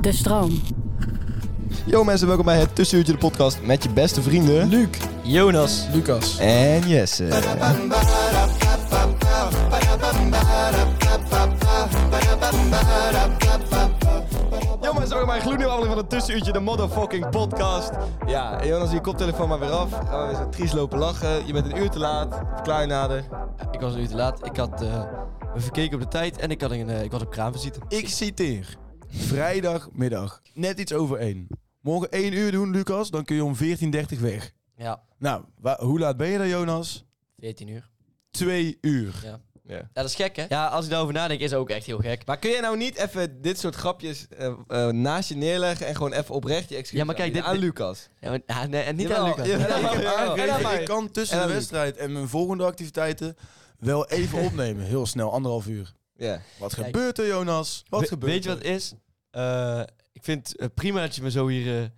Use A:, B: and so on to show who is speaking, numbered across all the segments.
A: De stroom.
B: Yo mensen, welkom bij het Tussenuurtje de podcast met je beste vrienden... Luc, Jonas
C: Lucas.
B: en Jesse. Yo mensen, welkom bij een gloednieuwe aflevering van het Tussenuurtje de motherfucking podcast. Ja, Jonas, je koptelefoon maar weer af. Gaan we weer zo triest lopen lachen. Je bent een uur te laat. Verklaar je nader.
C: Ik was een uur te laat. Ik had eh, me verkeken op de tijd en ik had, een, eh, ik had op kraamvisite.
D: Ik citeer. Vrijdagmiddag. Net iets over één. Morgen één uur doen, Lucas. Dan kun je om 14.30 weg.
C: Ja,
D: Nou, wa- hoe laat ben je dan, Jonas?
C: 14 uur.
D: Twee uur.
C: Ja.
B: Ja.
C: Ja, dat is gek hè? Ja, als ik daarover nadenk is het ook echt heel gek.
B: Maar kun jij nou niet even dit soort grapjes eh, eh, naast je neerleggen en gewoon even oprecht je excuus
C: Ja, maar kijk,
B: aanbieden
C: dit-
B: aan Lucas?
C: Ja, maar- ah, nee, en niet
B: Jawel,
C: aan Lucas.
B: jawel.
C: Nee, ik heb
B: Jawel.
C: aangegeven.
B: En aan mij.
D: Ik kan tussen
B: En aan
D: de
B: Luc.
D: wedstrijd en mijn volgende activiteiten wel even opnemen. Heel snel, anderhalf uur.
B: Ja.
D: Wat
C: Kijk.
D: gebeurt er, Jonas? Wat
C: We-
D: gebeurt
C: Weet je
D: er?
C: wat het is? Eh, ik vind het eh, prima dat je me zo hier eh,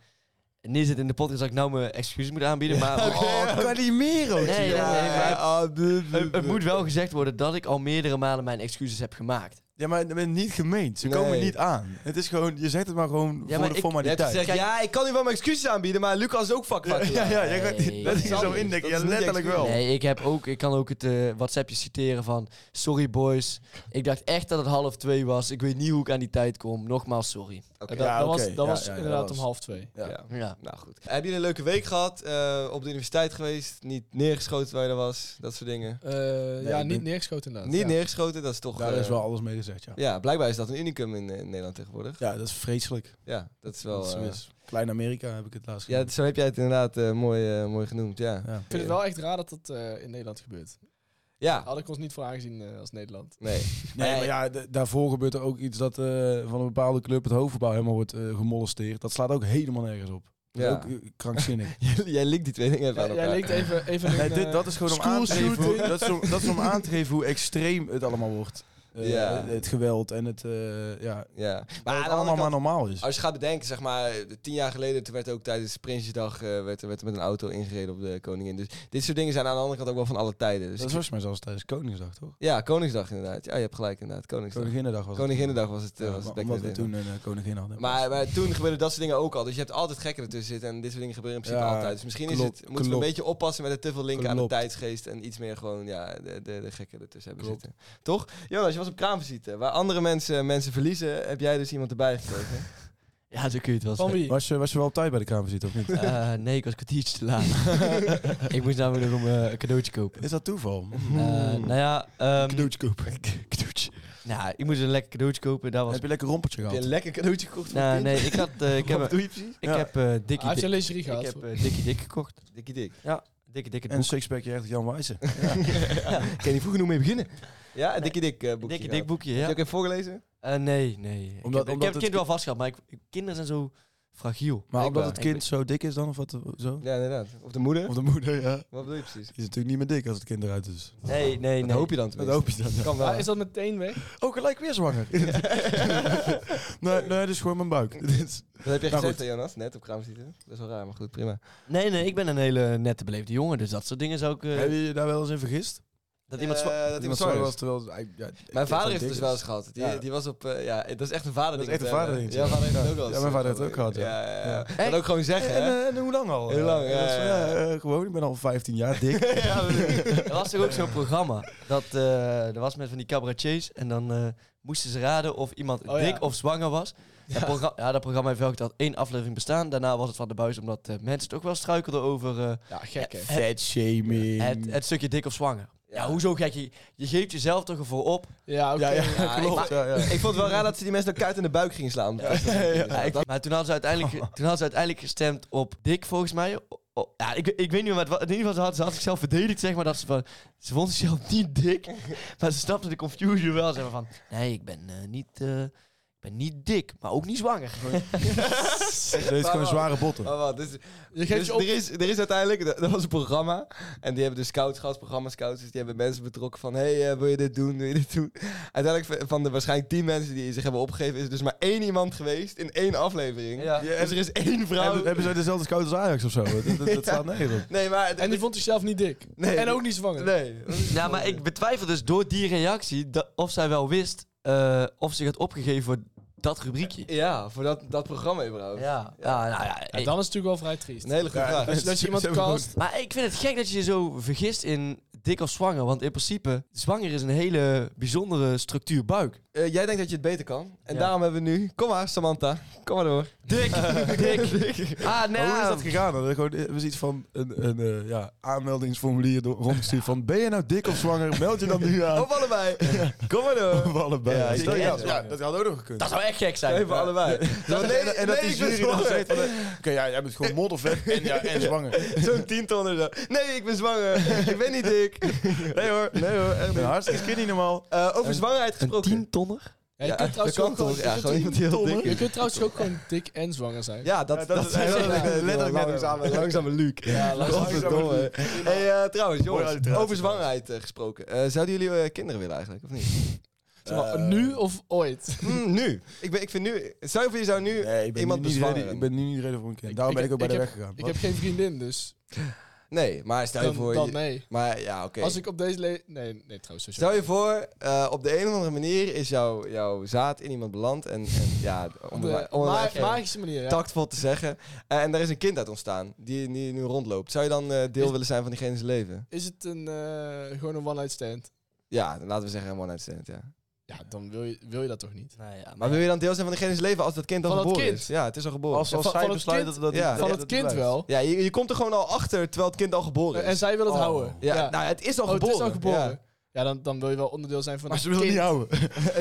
C: neerzet in de podcast dat ik nou mijn excuses moet aanbieden.
D: Ja,
C: Maar
D: oh, Calimero.
C: Nee, nee, nee, maar-
D: ah, buh, buh,
C: het, het
D: buh.
C: moet wel gezegd worden dat ik al meerdere malen mijn excuses heb gemaakt.
D: Ja, maar je bent niet gemeend. Ze komen
B: Nee.
D: niet aan. Het is gewoon, je zegt het maar gewoon
C: maar ik-
D: voor de
C: je
B: Je hebt
D: formaliteit.
B: gezegd,
C: Kijk-
B: ja, ik kan nu wel mijn excuses aanbieden, maar Lucas is ook vakvak.
D: Ja, ja, jij gaat
C: Nee.
D: niet dat is
C: Dat is
D: zo
C: niet.
B: Dat
D: indekken. Ja,
B: is niet
D: letterlijk
B: excuus.
D: wel.
C: Nee, ik, heb ook, ik kan ook het eh, WhatsAppje citeren van... Sorry boys, ik dacht echt dat het half twee was. Ik weet niet hoe ik aan die tijd kom. Nogmaals sorry.
B: Oké.
E: Dat,
D: Ja,
E: dat
D: oké.
E: was, dat
D: Ja,
E: was
D: ja, ja,
E: inderdaad
D: dat was-
E: om half twee.
B: Ja.
C: Ja.
B: Nou goed. Hebben jullie een leuke week gehad? Eh, op de universiteit geweest? Niet neergeschoten terwijl je er was? Dat soort dingen.
E: Eh, ja,
D: ik
E: niet
D: ben-
E: neergeschoten inderdaad.
B: Niet
E: ja.
B: neergeschoten, dat is toch...
D: Daar
B: eh,
D: is wel alles mee gezegd, ja.
B: Ja, blijkbaar is dat een unicum in, eh, in Nederland tegenwoordig.
D: Ja, dat is vreselijk.
B: Ja, dat is
D: Dat
B: wel...
D: is
B: eh,
D: mis. Klein Amerika heb ik het laatst
B: ja,
D: gezien.
B: zo heb jij het inderdaad eh, mooi, eh, mooi genoemd, ja.
D: Ja.
E: Ik vind het wel echt raar dat dat eh, in Nederland gebeurt.
B: Ja,
E: Had ik ons niet voor aangezien eh, als Nederland.
B: nee.
D: Nee, maar ja, d- daarvoor gebeurt er ook iets dat eh, van een bepaalde club het hoofdgebouw helemaal wordt eh, gemolesteerd. Dat slaat ook helemaal nergens op. Dat is
B: Ja.
D: ook eh, krankzinnig.
B: jij linkt die twee dingen even
E: Ja,
B: aan
E: jij
B: elkaar.
E: leek even, even
D: nee,
E: een,
D: dit,
E: eh,
D: dat is gewoon om
E: school
D: aan te geven hoe,
E: shooting.
D: dat is om, dat is om aan te geven hoe extreem het allemaal wordt. Eh,
B: Ja.
D: Het geweld en het, eh, ja,
B: Ja. Maar aan
D: dat het
B: de
D: allemaal
B: andere
D: maar
B: kant, Oh,
D: normaal is.
B: als je gaat bedenken, zeg maar, eh, tien jaar geleden, toen werd ook tijdens Prinsjesdag, eh, werd, er- werd er met een auto ingereden op de koningin. Dus dit soort dingen zijn aan de andere kant ook wel van alle tijden. Dus
D: dat was maar zelfs tijdens Koningsdag, toch?
B: Ja, Koningsdag inderdaad. Ja, je hebt gelijk inderdaad, Koningsdag.
D: Koninginnedag was het.
B: Koninginnedag was het, eh,
D: Ja,
B: was het back
D: omdat
B: in
D: we
B: the day.
D: toen een eh, koningin hadden.
B: Maar, maar toen gebeurden dat soort dingen ook al. Dus je hebt altijd gekken ertussen zitten. En dit soort dingen gebeuren in principe
D: Ja,
B: altijd. Dus misschien
D: klopt,
B: is het, moeten we een
D: klopt.
B: beetje oppassen met het te veel linken aan de
D: Klopt.
B: tijdsgeest. En iets meer gewoon ja, de, de, de gekken ertussen hebben
D: Klopt.
B: zitten. Toch? Jonas, je was op kraamvisite. Waar andere mensen mensen verliezen, heb jij dus iemand erbij gekregen.
C: Ja, zo kun je het wel
E: Van
C: zeggen.
E: wie?
D: was, je, was je wel op tijd bij de kamer zitten of niet?
C: Eh, nee, ik was een kwartiertje te laat. ik moest namelijk nog een, eh, een cadeautje kopen.
D: Is dat toeval?
C: Eh,
D: Hmm.
C: nou ja, ehm,
D: kopen.
C: nou, ik moest een lekker cadeautje kopen. Daar was...
D: Heb je lekker rompertje
B: Heb je
D: gehad?
B: een lekker cadeautje gekocht? voor
C: Nou,
B: kind?
C: nee, ik had... eh, ik heb,
B: Wat
C: een-
B: doe je precies?
C: ik
D: Ja.
C: heb eh Dikkie
E: Ah, Hij heeft
C: Dik-
E: zijn lingerie
C: ik
E: gehad.
C: heb eh, Dikkie Dik gekocht.
B: Dikkie dik.
C: Dikkie Dik het
D: En
C: boek.
D: een sixpackje echt Jan Wijze.
B: Ik kan niet vroeg genoeg mee beginnen. Ja, een dikkie dik eh, boekje.
C: Dikkie Dik
B: gehad.
C: boekje, ja.
B: Heb je ook even voorgelezen?
C: Eh, nee, nee. Ik
D: Omdat-
C: heb- ik
D: omdat
C: heb het
D: het
C: kind
D: ki-
C: wel vast gehad, maar ik, kinderen zijn zo fragiel.
D: Maar omdat
B: Blijkbaar.
D: het kind zo dik is dan of wat? eh, Zo?
B: Ja, inderdaad. Of de moeder?
D: Of de moeder, ja.
B: Wat bedoel je precies?
D: Die is natuurlijk niet meer dik als het kind eruit is.
C: Nee, nee,
B: Dat
C: nee.
B: hoop je dan
D: Dat
B: tenminste.
D: hoop je dan. ja.
B: Kan wel.
E: Ah, is dat meteen weg?
D: Oh, gelijk weer zwanger. nee, nee, dit is gewoon mijn buik. Dit is-
B: Dat heb je
D: Nou,
B: gezegd,
D: goed.
B: hè, Jonas, net op kraamvisite. Dat is wel raar, maar goed, prima.
C: Nee, nee, ik ben een hele nette beleefde jongen, dus dat soort dingen zou ik... eh,
D: Heb je je daar wel eens in vergist?
B: Dat iemand, zwa-
D: Eh,
B: dat iemand zwanger was.
D: terwijl... hij- ja, ik-
B: Mijn vader
D: ik-
B: heeft het
D: ik-
B: dus wel eens gehad. Die,
D: Ja.
B: die was op... eh, ja, dat is echt een vader
D: Dat is echt een vaderdingetje.
B: Ja, vader heeft het
D: Ja.
B: ook wel eens.
D: Ja, mijn vader heeft het ook gehad, ja.
B: Ja, ja, ja.
D: Ja.
B: Kan ook gewoon
D: En,
B: zeggen, hè?
D: eh, en hoe lang al?
B: Heel lang,
D: Eh,
B: ja,
D: dat is van,
B: ja,
D: ja, eh, gewoon, ik ben al 15 jaar dik.
B: Ja,
C: Er was toch ook zo'n programma. Dat eh, er was met van die cabaretiers. En dan eh, moesten ze raden of iemand
E: Oh, ja.
C: dik of zwanger was. Dat, progra- ja, dat programma heeft wel geteld één aflevering bestaan. Daarna was het van de buis. Omdat eh, mensen toch wel struikelden over eh,
E: Ja, gek hè.
D: Fat shaming.
C: het, het stukje dik of zwanger. Ja, hoezo gek? Je, je geeft jezelf toch ervoor op.
E: Ja, oké.
D: Ja, ja,
B: Ja, ik-
D: klopt. Ja, ja.
B: Ik vond het wel raar dat ze die mensen elkaar in de buik gingen slaan. Ja,
C: Ja, ik- maar toen hadden, ze uiteindelijk, toen hadden ze uiteindelijk gestemd op dik, volgens mij. O- o- ja, ik, ik weet niet meer, maar het wa- in ieder geval ze had, ze had zichzelf verdedigd, zeg maar. Dat ze, van, ze vond zichzelf niet dik, maar ze snapte de confusion wel. Zeg maar van, nee, ik ben, eh, niet, eh, ik ben niet dik, maar ook niet zwanger.
D: Dit is gewoon zware botten.
B: Maar wat, dus,
E: Je geeft
B: dus
E: je op.
B: er, is, er is uiteindelijk, dat, dat was een programma. En die hebben dus scouts gehad, programma scouts. Dus die hebben mensen betrokken van, hey, eh, wil je dit doen, wil je dit doen? Uiteindelijk van- van de waarschijnlijk tien mensen die zich hebben opgegeven... is er dus maar één iemand geweest in één aflevering.
C: Ja.
B: Dus er is één vrouw...
D: Hebben, hebben zij dezelfde scout als Ajax of zo? Dat, dat, dat staat nergens op.
B: Nee, maar...
E: En die vond zichzelf niet dik.
B: Nee.
E: En ook niet zwanger.
B: Nee.
C: Ja, maar ik betwijfel dus door die reactie dat, of zij wel wist eh, of ze had opgegeven voor dat rubriekje.
B: Ja, voor dat, dat programma überhaupt.
C: Ja, ja, nou ja.
E: Ja,
C: ik-
E: dan is het natuurlijk wel vrij triest.
B: Een hele goede vraag.
E: Als je, dat je
D: Ze-
E: iemand
D: ze hebben gewoon-
E: cast.
C: Maar ik vind het gek dat je je zo vergist in dik of zwanger. Want in principe, zwanger is een hele bijzondere structuur buik.
B: Eh, jij denkt dat je het beter kan. En
C: Ja.
B: daarom hebben we nu... Kom maar, Samantha. Kom maar door.
C: Dik, dik. Ah, nee.
D: Maar hoe is dat gegaan? dan? Gewoon, eh, was iets van een, een eh, ja, aanmeldingsformulier door- rondgestuurd van... Ben je nou dik of zwanger? Meld je dan nu aan.
B: Op allebei. Kom maar door.
D: Of allebei.
B: Ja,
D: Stel je
B: ik-
D: dat- Oh. ja, dat had ook nog gekund.
C: Dat zou echt gek zijn.
B: Even allebei.
D: Dat-
B: nee,
D: en, en dat
B: nee,
D: die
B: ik ben
D: jury dan
B: zwanger.
D: zegt van... eh, Oké, ja, jij bent gewoon modder vet en, ja, en zwanger.
B: Zo'n tientonner zo. Nee, ik ben zwanger. ik ben niet dik. Nee hoor, nee hoor. Echt
D: Ben
B: niet.
D: hartstikke skinny normaal.
B: Eh, over zwangerheid
C: Een
B: gesproken.
C: tientonner?
E: Ja, je
B: Ja,
E: kunt trouwens
B: dat
E: ook
B: kan
E: gewoon-
B: toch? Ja,
E: je
B: gewoon
E: kunt-
B: iemand die heel dik
E: Je
B: is.
E: kunt trouwens ook gewoon dik en zwanger zijn.
B: Ja, dat,
D: Ja,
B: dat,
D: dat is
B: is
D: eigenlijk, eh, letterlijk net
B: langzame,
D: wat ik-
B: langzame Luc. Ja,
D: langzame
B: Hey, eh, trouwens,
D: Mooie
B: jongens,
D: alliteratie
B: over zwangerheid eh, gesproken. Eh, zouden jullie eh, kinderen willen eigenlijk, of niet?
E: Zeg maar, nu of ooit?
B: Hmm, nu. Ik, ben, ik vind nu... Stel je voor, je zou nu
D: Nee, ik ben,
B: iemand
D: nu niet
B: bezwangeren.
D: reden, ik ben nu niet reden voor een kind.
E: Ik-
D: Daarom
E: ik-
D: ben ik ook bij
E: ik
D: de
E: heb-
D: weg gegaan.
E: Ik heb geen vriendin, dus
B: Nee, maar stel je
E: dan,
B: voor...
E: dan
B: je-
E: nee.
B: Maar ja, oké.
E: Als ik op deze le- Nee, nee, trouwens. sowieso.
B: Stel je voor, eh, op de een of andere manier is jouw jouw zaad in iemand beland. En, en ja, om
E: Op de
B: het maar- om het maar
E: ma-
B: even
E: magische manier, ja.
B: tactvol te zeggen. Eh, en daar is een kind uit ontstaan, die, die nu rondloopt. Zou je dan eh, deel
E: Is-
B: willen zijn van diegene's leven?
E: Is het een, eh, gewoon een one-night stand?
B: Ja, dan laten we zeggen one night stand, ja.
E: Ja, dan wil je, wil je dat toch niet?
C: Nou ja,
B: Maar wil je dan deel zijn van diegene's leven als dat kind al
E: Van dat
B: geboren
E: kind?
B: is? Ja, het is al geboren.
D: Als,
E: Ja,
D: als
E: van-
D: zij
E: van het
D: besluit
E: kind-
D: dat, dat,
B: ja.
D: dat-
E: Van
D: dat
E: het kind
D: blijft.
E: wel.
B: Ja, je, je komt er gewoon al achter terwijl het kind al geboren is.
E: En zij wil het
D: Oh.
E: houden.
B: ja, nou het is al
E: Oh, het
B: geboren.
E: is al geboren.
B: Ja.
E: Ja, dan, dan wil je wel onderdeel zijn van
D: Maar
E: dat
D: ze wil het niet
E: kind.
D: houden.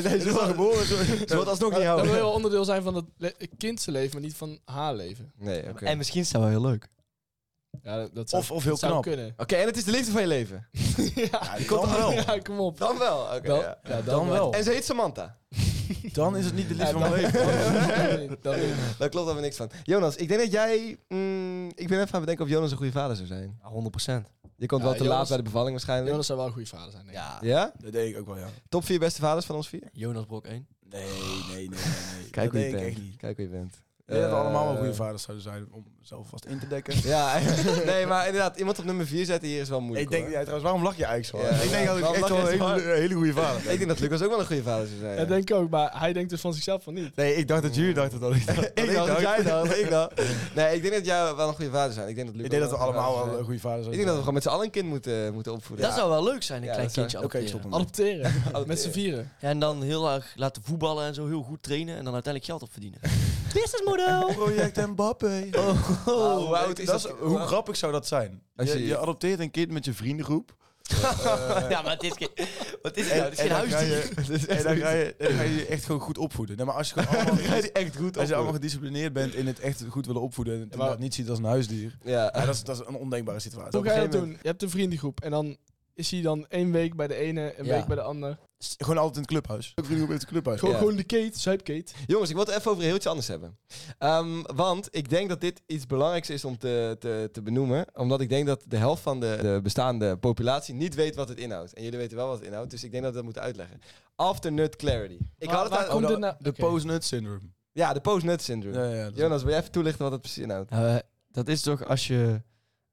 B: nee,
D: Het
B: ze
D: is al
B: wil-
D: geboren.
B: ze wil het alsnog niet
E: Dan wil je
B: houden.
E: wel onderdeel zijn van het le- kindse leven, maar niet van haar leven.
B: Nee, oké.
C: En misschien is dat wel heel leuk.
E: Ja, dat, dat zou,
D: Of, of heel
E: dat zou
D: knap.
E: kunnen.
B: Oké, en het is de liefde van je leven.
E: ja,
D: die kan wel.
E: Ja, kom op.
B: Dan wel, oké.
E: Dan,
B: ja.
E: ja, dan,
D: Dan wel.
B: En ze heet Samantha.
D: Dan is het niet de liefde
E: Ja,
D: van
E: dan-
D: mijn leven.
E: dan- dan- dan-
B: Daar klopt alweer niks van. Jonas, ik denk dat jij... mm, ik ben even aan het bedenken of Jonas een goede vader zou zijn.
C: 100%.
B: Je komt
E: Ja,
B: wel te
E: Jonas-
B: laat bij de bevalling waarschijnlijk.
E: Jonas zou wel een goede vader zijn, denk ik.
C: Ja.
B: Ja?
D: Dat denk ik ook wel, ja.
B: Top vier beste vaders van ons vier?
C: Jonas Brok 1.
D: Nee, nee, nee. nee, nee.
B: Kijk hoe
D: dat
B: je
D: denk ik
B: bent.
D: echt niet.
B: Kijk hoe je bent.
D: Ik denk dat we
B: Eh,
D: allemaal wel goede vaders zouden zijn om zelf vast in te dekken.
B: Ja, nee, maar inderdaad, iemand op nummer 4 zetten hier is wel moeilijk.
D: ik denk,
B: hoor.
D: ja, trouwens, waarom lach je eigenlijk zo?
B: Ja,
D: hard? ik denk
B: ja,
D: dat ik
B: waarom
D: echt
B: lach
D: wel
B: je
D: een
B: zo
D: hele, hele goede vader ben.
B: ik denk dat Lucas ook wel een goede vader zou zijn.
E: Ja, denk ik ook, maar hij denkt dus van zichzelf van niet.
D: Nee, ik dacht dat jullie dachten dat ik dat.
B: ik dacht, dat jij dan, ik dan. Nee, ik denk dat jij wel een goede vader zijn. Ik denk dat Lucas
D: Ik denk dat we
B: wel een goede
D: allemaal
B: vader
D: wel
B: zou
D: een goede
B: zijn.
D: vader zijn.
B: Ik denk dat we gewoon met z'n allen een kind moeten, moeten opvoeden.
C: Dat zou wel leuk zijn, een
B: Ja,
C: klein
B: dat zou-
C: kindje
D: Oké, ik
C: adopteren.
D: stop hem.
E: Adopteren.
B: Adopteren.
E: Met z'n vieren.
C: Ja, en dan heel erg laten voetballen en zo, heel goed trainen en dan uiteindelijk geld op verdienen.
D: Businessmodel. Project Mbappé.
B: Oh, hoe oud is
D: dat is-
B: dat?
D: hoe grappig zou dat zijn?
B: Als
D: Je,
B: je-
D: je adopteert een kind met je vriendengroep.
C: ja, maar het is geen, wat is het
D: En,
C: nou? Het is geen
D: en dan ga
C: huisdier.
D: je, en dan ga je, dan ga je je echt gewoon goed opvoeden. Nee, maar als je, gewoon allemaal,
B: Hij is echt goed
D: als je
B: opvoeden.
D: allemaal gedisciplineerd bent in het echt goed willen opvoeden... en het
E: Ja, maar-
D: inderdaad niet ziet als een huisdier...
B: Ja.
D: Ja, dat, is, dat is een ondenkbare situatie.
E: Hoe ga je
D: Op een
E: dat
D: gegeven
E: doen? Je hebt een vriendengroep en dan is hij dan één week bij de ene, een
C: Ja.
E: week bij de ander.
D: moment- Gewoon altijd in het clubhuis. Ook vrienden op het clubhuis.
E: Gewoon,
B: Ja.
E: gewoon de Kate, zuipkeet.
B: Jongens, ik wil het even over heel iets anders hebben. Ehm, want ik denk dat dit iets belangrijks is om te, te, te benoemen. Omdat ik denk dat de helft van de, de bestaande populatie niet weet wat het inhoudt. En jullie weten wel wat het inhoudt, dus ik denk dat we dat moeten uitleggen. Afternut clarity. Ik
E: Waar-
B: had het
E: waar
B: aan-
E: komt
D: de-
E: dit nou?
D: De
E: Oké.
D: post-nut syndrome.
B: Ja, de post-nut syndrome.
D: Ja, ja, dat is-
B: Jonas, wil jij even toelichten wat het precies inhoudt?
C: Nou, eh, dat is toch als je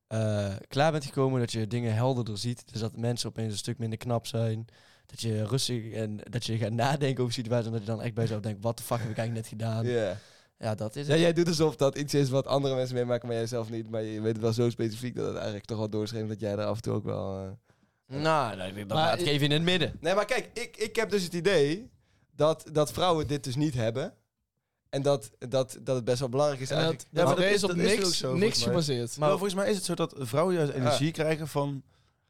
C: eh, klaar bent gekomen, dat je dingen helderder ziet. Dus dat mensen opeens een stuk minder knap zijn. Dat je rustig en dat je gaat nadenken over situaties. En dat je dan echt bij jezelf denkt, wat de fuck heb ik eigenlijk net gedaan?
B: Ja.
C: Ja, dat is
B: Ja,
C: het.
B: jij doet alsof dat iets is wat andere mensen meemaken, maar jij zelf niet. Maar je weet het wel zo specifiek dat het eigenlijk toch wel doorschreef dat jij er af en toe ook wel... eh,
C: Nou, nou, dan
B: Maar
C: laat ik
B: ik-
C: even in het midden.
B: Nee, maar kijk, ik, ik heb dus het idee dat, dat vrouwen dit dus niet hebben. En dat, dat, dat het best wel belangrijk is
E: En dat,
B: eigenlijk.
E: dat,
B: maar
E: er is op
B: dat
E: niks,
B: ook zo,
E: niks
B: volgens mij.
E: gebaseerd.
D: Maar volgens mij is het zo dat vrouwen juist energie krijgen van